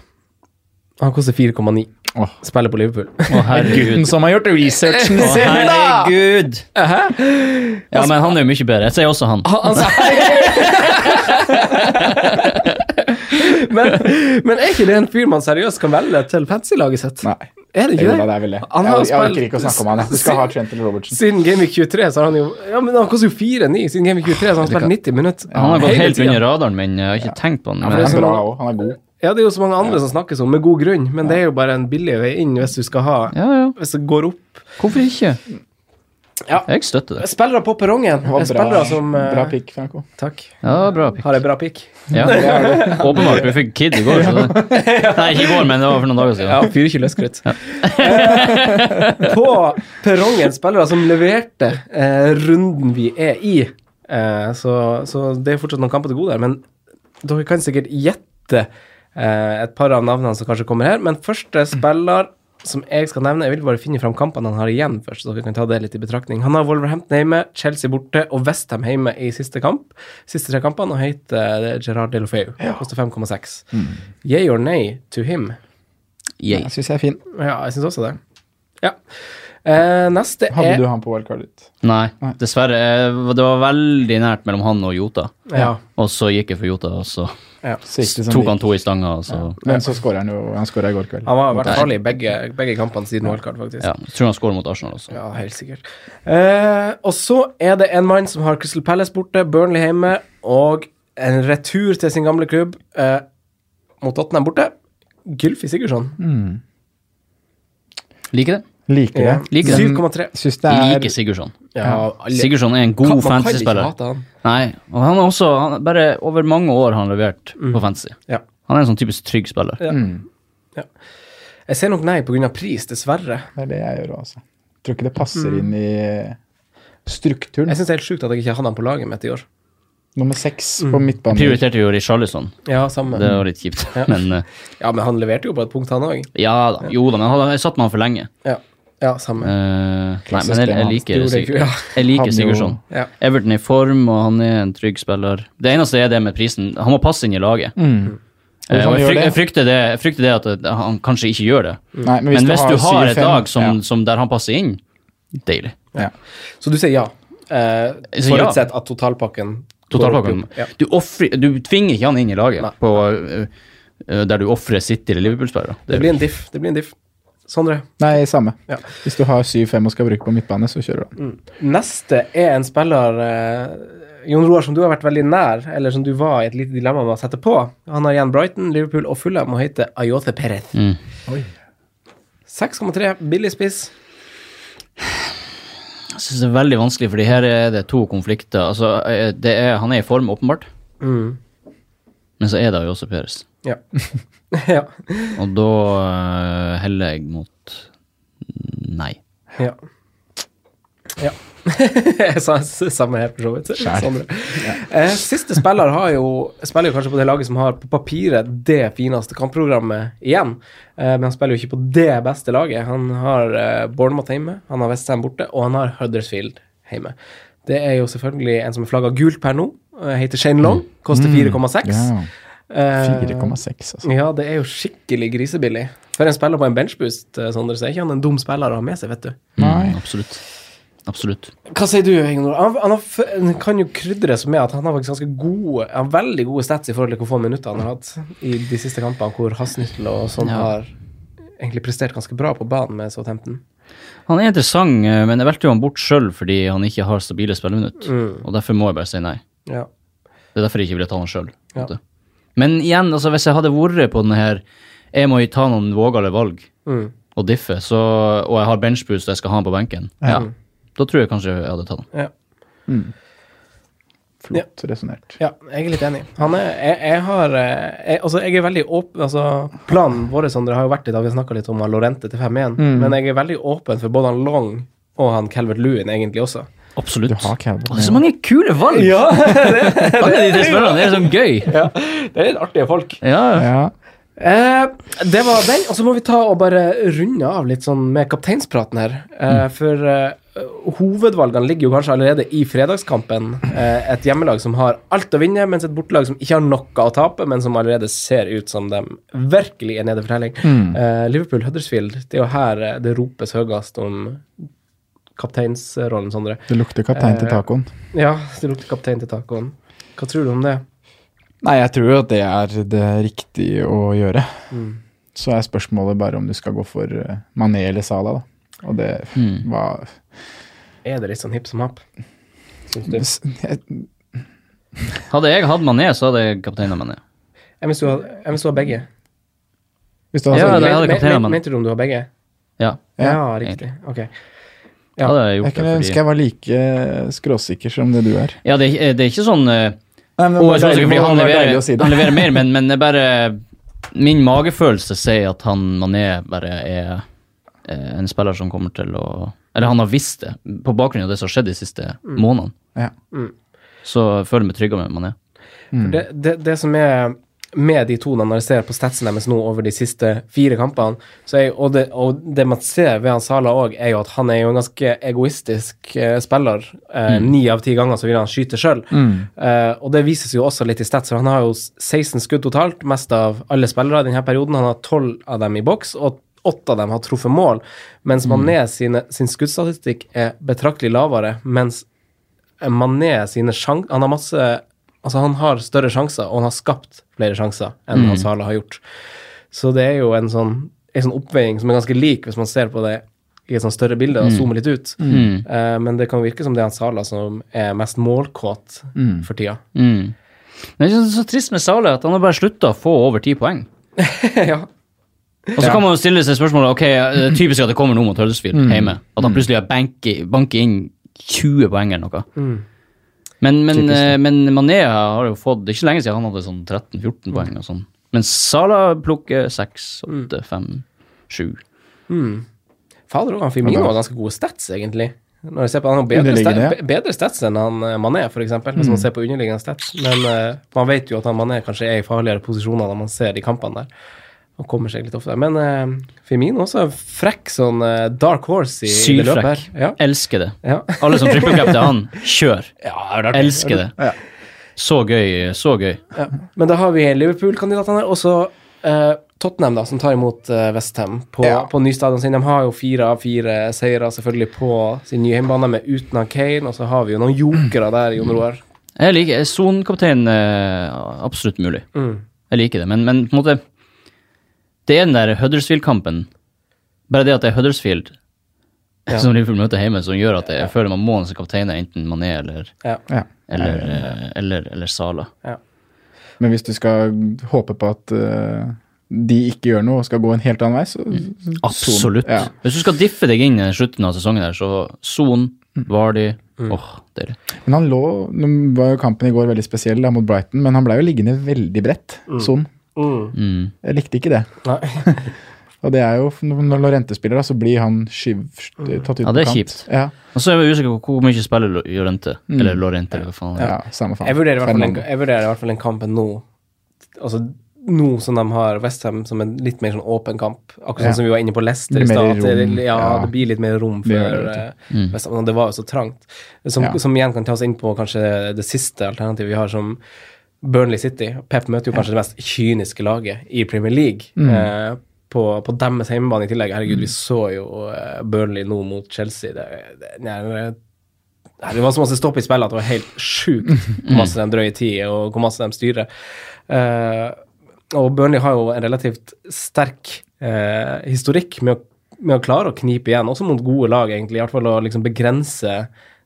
Han koster 4,9. Åh. Spiller på Liverpool. Å, herregud. Gutten som har gjort researchen. [laughs] Å, herregud. Ja, men han er jo mye bedre. Jeg sier også han. Han- han sa- men, men er ikke det en fyr man seriøst kan velge til fantasy-laget sitt? Nei. Er det Jo ikke da, det det? er vel det. Han har Jeg, jeg orker spilt- ikke å snakke om han. jeg. Du skal ha Trent eller Robertson. Siden Gaming 23 så har han jo Ja, men han koster jo 4,9. Siden Gaming 23 så har han spilt 90 minutter. Han har gått Hele helt tiden. under radaren min. Jeg har ikke tenkt på [laughs] han. Han Men, er bra også, Han er god. Ja, det er jo så mange andre som snakkes om, med god grunn, men det er jo bare en billig vei inn hvis du skal ha ja, ja. Hvis det går opp. Hvorfor ikke? Ja. Jeg støtter det. Spillere på perrongen. Det var Spillere altså som eh, bra pick, Franco. Takk. Ja, bra pick. Har jeg bra pikk? Ja. Åpenbart. Vi fikk kid i går. Så det. Nei, ikke i går, men det var for noen dager siden. Ja, fyrer ikke løskrutt. Eh, på perrongen spillere som leverte eh, runden vi er i, eh, så, så det er fortsatt noen kamper til gode der, men dere kan sikkert gjette eh, et par av navnene som kanskje kommer her, men første spiller som jeg skal nevne, jeg vil bare finne fram kampene han har igjen først, så dere kan ta det litt i betraktning. Han har Wolverhampton hjemme, Chelsea borte og Westham hjemme i siste kamp. Siste tre kampene, og heter eh, Gerard Delofeu. Koster 5,6. Yay or nay to him? Yay. Jeg syns jeg er fin. Ja, jeg syns også det. Ja. Eh, neste Hadde er du han på wildcardet ditt? Nei, dessverre. eh, Det var veldig nært mellom han og Jota. Ja. Og så gikk jeg for Jota, og så Så gikk det sånn som tok det han to i stanga. altså. Og så, gikk. Men så skåra han jo Han skåra i går kveld. Han var i hvert fall i begge, begge kampene siden OL-kart, faktisk. ja, jeg tror han skårer mot Arsenal også. Ja, helt sikkert. Eh, og så er det en mann som har Crystal Palace borte, Burnley hjemme og en retur til sin gamle klubb eh, mot Tottenham borte. Gylfi Sigurdsson. Mm. Liker det. Liker Ja. det. Liker det. 7,3. Syns det er Liker Sigurdsson. Ja, alle- Sigurdsson er en Ka- god man kan ikke fantasy-spiller. hate han. Nei, og han er også han, er Bare over mange år har han levert på fantasy. Mm. Ja. Han er en sånn typisk trygg spiller. Ja. Ja. Jeg ser nok nei pga. pris, dessverre. Det er det jeg gjør, altså. Tror ikke det passer Mm. inn i strukturen. Jeg syns det er helt sjukt at jeg ikke hadde han på laget mitt i år. Nummer seks Mm. på midtbanen. Prioriterte jo Richarlison, Ja, samme. det var litt kjipt. [laughs] Men eh, Ja, men han leverte jo på et punkt, han òg. ja da, jo da, men jeg hadde- jeg satt med han for lenge. Ja. ja, samme. Eh, nei, men jeg, jeg liker, Klassisk Sig tema. [laughs] jeg liker Han jo- Sigurdsson. Ja. Everton er i form, og han er en trygg spiller. Det eneste er det med prisen. Han må passe inn i laget. Mm. Mm. Eh, Hvis han og jeg, gjør det- fryk, jeg, frykter det, jeg frykter det at eh, han kanskje ikke gjør det. Nei, Men hvis du har et 7-5, lag som, ja. som der han passer inn, deilig. Ja. Så du sier ja? Eh, sier ja. forutsett at totalpakken går Totalpakken. opp, Ja. Du, offrer- du tvinger ikke han inn i laget på, eh, eh, der du ofrer City eller Liverpool-spillere. Det blir en diff. Det blir en diff. Sondre. Nei, samme. Ja. Hvis du har 7-5 og skal bruke på midtbane, så kjører du den. Neste er en spiller eh, Jon Roar, som du har vært veldig nær, eller som du var i et lite dilemma med å sette på. Han har igjen Brighton, Liverpool og Fulham og heter Ayote Perez. Mm. 6,3, billig spiss. Jeg synes det er veldig vanskelig, fordi her er det to konflikter. Altså, eh, det er, han er i form, åpenbart. Men så er det jo også Peres. Mm, Ja. [laughs] ja. Og da eh, heller jeg mot nei. Ja. ja. [laughs] Jeg sa s- samme her, for så vidt. Skjær. Sondre. Eh, Siste spiller har jo, spiller jo kanskje på det laget som har på papiret det fineste kampprogrammet igjen, eh, men han spiller jo ikke på det beste laget. Han har eh, Bournemouth hjemme, han har Westham borte, og han har Huddersfield hjemme. Det er jo selvfølgelig en som er flagga gult per nå, eh, heter Shane Long, koster 4,6. Mm. Ja. Eh, 4,6, altså. Ja, det er jo skikkelig grisebillig. For en spiller på en benchboost, eh, Sondre, så er ikke han en dum spiller å ha med seg, vet du. Nei. Mm, Absolutt. Absolutt. Hva sier du, Ingeborg? Han, han, har f- han kan jo krydres med at han har faktisk ganske gode han har veldig gode stats i forhold til hvor få minutter han har hatt i de siste kampene, hvor Hasnittel og sånn Ja. har egentlig prestert ganske bra på banen med Southampton. Han er interessant, eh, men jeg valgte jo han bort sjøl fordi han ikke har stabile spilleminutt. Og derfor må jeg bare si nei. Ja. Det er derfor jeg ikke ville ta han sjøl. Ja. Men igjen, altså, hvis jeg hadde vært på den her Jeg må jo ta noen vågale valg Mm. og diffe, så, og jeg har benchboost og jeg skal ha han på benken, ja. da tror jeg kanskje jeg hadde tatt han. Ja. Flott resonnert. Ja, jeg er litt enig. Han er, jeg, jeg har eh, jeg, Altså, jeg er veldig åpen altså, Planen vår Sondre, har jo vært i dag, vi snakka litt om han Lorente til 5-1, men jeg er veldig åpen for både han Long og han Calvert Lewin egentlig også. Absolutt. Du har Calvert. Å, det er så mange kule valg! Alle de tre spillerne, det er sånn gøy. Ja, Det er litt artige folk. ja. Ja. Eh, det var den, og så må vi ta og bare runde av litt sånn med kapteinspraten her. Eh, for eh, hovedvalgene ligger jo kanskje allerede i fredagskampen. Eh, et hjemmelag som har alt å vinne, mens et bortelag som ikke har noe å tape, men som allerede ser ut som de virkelig er nede for telling. Eh, Liverpool-Huddersfield, det er jo her eh, det ropes høyest om kapteinsrollen, Sondre. Det lukter kaptein til Eh, tacoen. Ja, det lukter kaptein til tacoen. Hva tror du om det? Nei, jeg tror jo at det er det riktige å gjøre. Mm. Så er spørsmålet bare om du skal gå for eh, Mané eller Salah, da. Og det var Er det litt sånn hipp som happ? Syns du? jeg, Hadde jeg hatt Mané, så hadde jeg kapteina Mané. Jeg vil stå begge. Hvis du har Ja, Salah- det- Altså, Men- hadde men- men- kapteinen, men- Mente du om du har begge? Ja, Ja. Ja, riktig. Ok. ja. hadde jeg jeg gjort det. kunne ønske Fordi... jeg var like skråsikker som det du er. Ja, det, er- det er ikke sånn eh, Nei, men det å, var deilig- jeg tror sikkert fordi det var han, deilig leverer, å si det. han leverer mer, men, men det er bare Min magefølelse sier at han Mané bare er eh, en spiller som kommer til å Eller han har visst det, på bakgrunn av det som har skjedd de siste månedene. Mm. Ja. Så jeg føler meg tryggere med Mané. Det, det, det som er med de to når jeg ser på statsen deres nå over de siste fire kampene, så er, jo- og, det, og det man ser ved han Sala òg, er jo at han er jo en ganske egoistisk eh, spiller. Eh, Mm. Ni av ti ganger så vil han skyte sjøl. Eh, og det vises jo også litt i stats. for Han har jo s- 16 skudd totalt, mest av alle spillere i denne perioden. Han har 12 av dem i boks. og Åtte av dem har truffet mål, mens Mané sine, sin skuddstatistikk er betraktelig lavere. Mens Mané sine sjans... Han har masse Altså, han har større sjanser, og han har skapt flere sjanser enn han Salah har gjort. Så det er jo en sånn, en sånn oppveiing som er ganske lik, hvis man ser på det i et sånn større bilde og zoomer litt ut. Eh, men det kan virke som det er han Salah som er mest målkåt for tida. Mm. Men det er så, så trist med Sale at han har bare slutta å få over ti poeng. [laughs] ja. Og så kan man jo stille seg spørsmålet ok, det er typisk at det kommer noe mot Huddersfield hjemme. At han plutselig har banket, banket inn 20 poeng eller noe. Mm. Men, men, eh, men Mané har jo fått Det er ikke lenge siden han hadde sånn Mm. 13-14 poeng. og sånn. Men Sala plukker 6, 8, 5, 7. Fader òg, Firmino har ganske gode stats, egentlig. Når jeg ser på Han har bedre, Underliggende, sta ja. Mm. be- bedre stats enn han eh, Mané, for eksempel, hvis man ser på underliggende stats. Men eh, man vet jo at han Mané kanskje er i farligere posisjoner når man ser de kampene der. Han kommer seg litt oftere. Men eh, Firmino også er frekk sånn eh, dark horse i, i det løpet Sylfrekk. her. Ja. Elsker det. Ja. Alle som trippelcapter han, kjør. [laughs] Ja, det er artig. Elsker det. Så gøy. Så gøy. Ja. Men da har vi Liverpool-kandidatene, og så eh, Tottenham, da, som tar imot eh, West Ham på, Ja. på nystadion sin. De har jo fire av fire seire selvfølgelig på sin nye hjemmebane, med uten han Kane, og så har vi jo noen jokere der, Mm. Jon Roar. Jeg liker Sonkaptein eh, absolutt mulig. Mm. Jeg liker det, men, men på en måte Det er den der Huddersfield-kampen. Bare det at det er Huddersfield Ja. [laughs] som Liverpool møter hjemme, som gjør at jeg føler man må nesten kapteine enten Mané eller, Ja. Ja. eller, eh, eller, eller Sala. Men hvis du skal håpe på at eh, de ikke gjør noe og skal gå en helt annen vei, så så- Absolutt. Mm. Ja. Mm. Hvis du skal diffe deg inn i slutten av sesongen, der, så Son, Vardy, Mm. Åh, deilig. Men han lå, nå var jo kampen i går veldig spesiell da, mot Brighton, men han ble jo liggende veldig bredt, Mm. Son. Mm. Jeg likte ikke det. Nei. Og det er jo, når Lorente spiller, da, så blir han skyv, Mm. tatt ut Ja, på det er kant. kjipt. Ja, Og så er jeg usikker på hvor mye spiller Lo- Llorente. Mm. Eller Lorente, eller hva faen. det er. ja, samme faen. Jeg vurderer i hvert fall den, Fernando. jeg vurderer i hvert fall den kampen nå. Altså nå som de har Westham som en litt mer sånn åpen kamp. Akkurat sånn Ja. som vi var inne på Leicester Litt i mer stad. at det- rom, Ja, ja. det blir litt mer rom for Det gjør det, eh, Westham. Og det var jo så trangt. Som, Mm. Ja. som igjen kan ta oss inn på kanskje det siste alternativet vi har som Burnley City. Pep møter jo kanskje det mest kyniske laget i Premier League. Mm. Eh, på, på deres hjemmebane i tillegg. Herregud, vi så jo eh, Burnley nå mot Chelsea. Det, det, det, Nei, Det var så masse stopp i spillet at det var helt [laughs] sjukt hvor masse de drøyer tid, og hvor masse de styrer. Eh, og Burnley har jo en relativt sterk eh, historikk med å, med å klare å knipe igjen, også mot gode lag, egentlig. I hvert fall å liksom begrense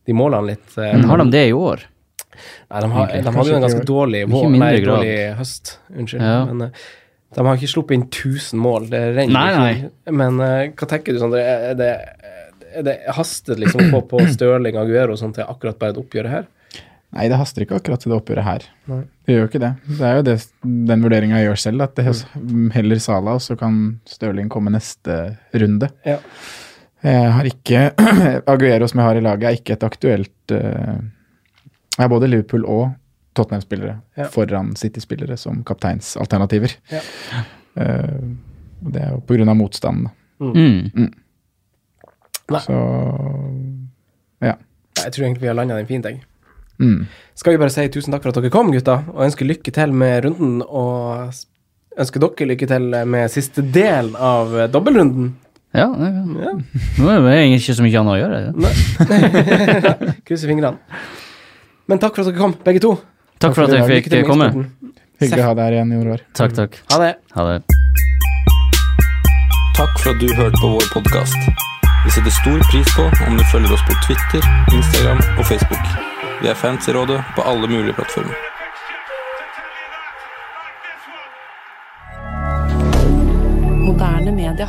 de målene litt. eh, Men har de det i år? Nei, de, har, de hadde Kanskje jo en ganske ikke- dårlig, ikke vår, mindre nei, grad. dårlig høst. Unnskyld. Ja. Men eh, de har ikke sluppet inn 1000 mål. Det renner Nei, ikke. Men eh, hva tenker du, Sondre? Er det, er det hastet liksom å få på [clears throat] Stirling og Aguero og sånt til akkurat bare det oppgjøret her? Nei, det haster ikke akkurat til det oppgjøret her. Det gjør jo ikke det. Det er jo det, den vurderinga jeg gjør selv, at det heller Sala, og så kan Stirling komme neste runde. Ja. Jeg har ikke [clears throat] Aguero som jeg har i laget, er ikke et aktuelt eh, Jeg har både Liverpool og Tottenham-spillere Ja. foran City-spillere som kapteinsalternativer. Ja. Eh, og det er jo på grunn av motstanden, da. Mm. Så ja. Jeg tror egentlig vi har landa den fint, jeg. Mm. Skal vi bare si tusen takk for at dere kom, gutta, og ønske lykke til med runden. Og s- ønske dere lykke til med siste del av eh, dobbeltrunden. Ja, ja, ja. Nå er det egentlig ikke så mye annet å gjøre. Ja. [laughs] Krysser fingrene. Men takk for at dere kom, begge to. Takk for at jeg Lykke fikk til med komme. innspurten. Hyggelig å ha deg her igjen i år. Takk, takk. Ha det. Ha det. Takk for at du hørte på vår podkast. Vi setter stor pris på om du følger oss på Twitter, Instagram og Facebook. Vi er fans i rådet på alle mulige plattformer. Moderne media.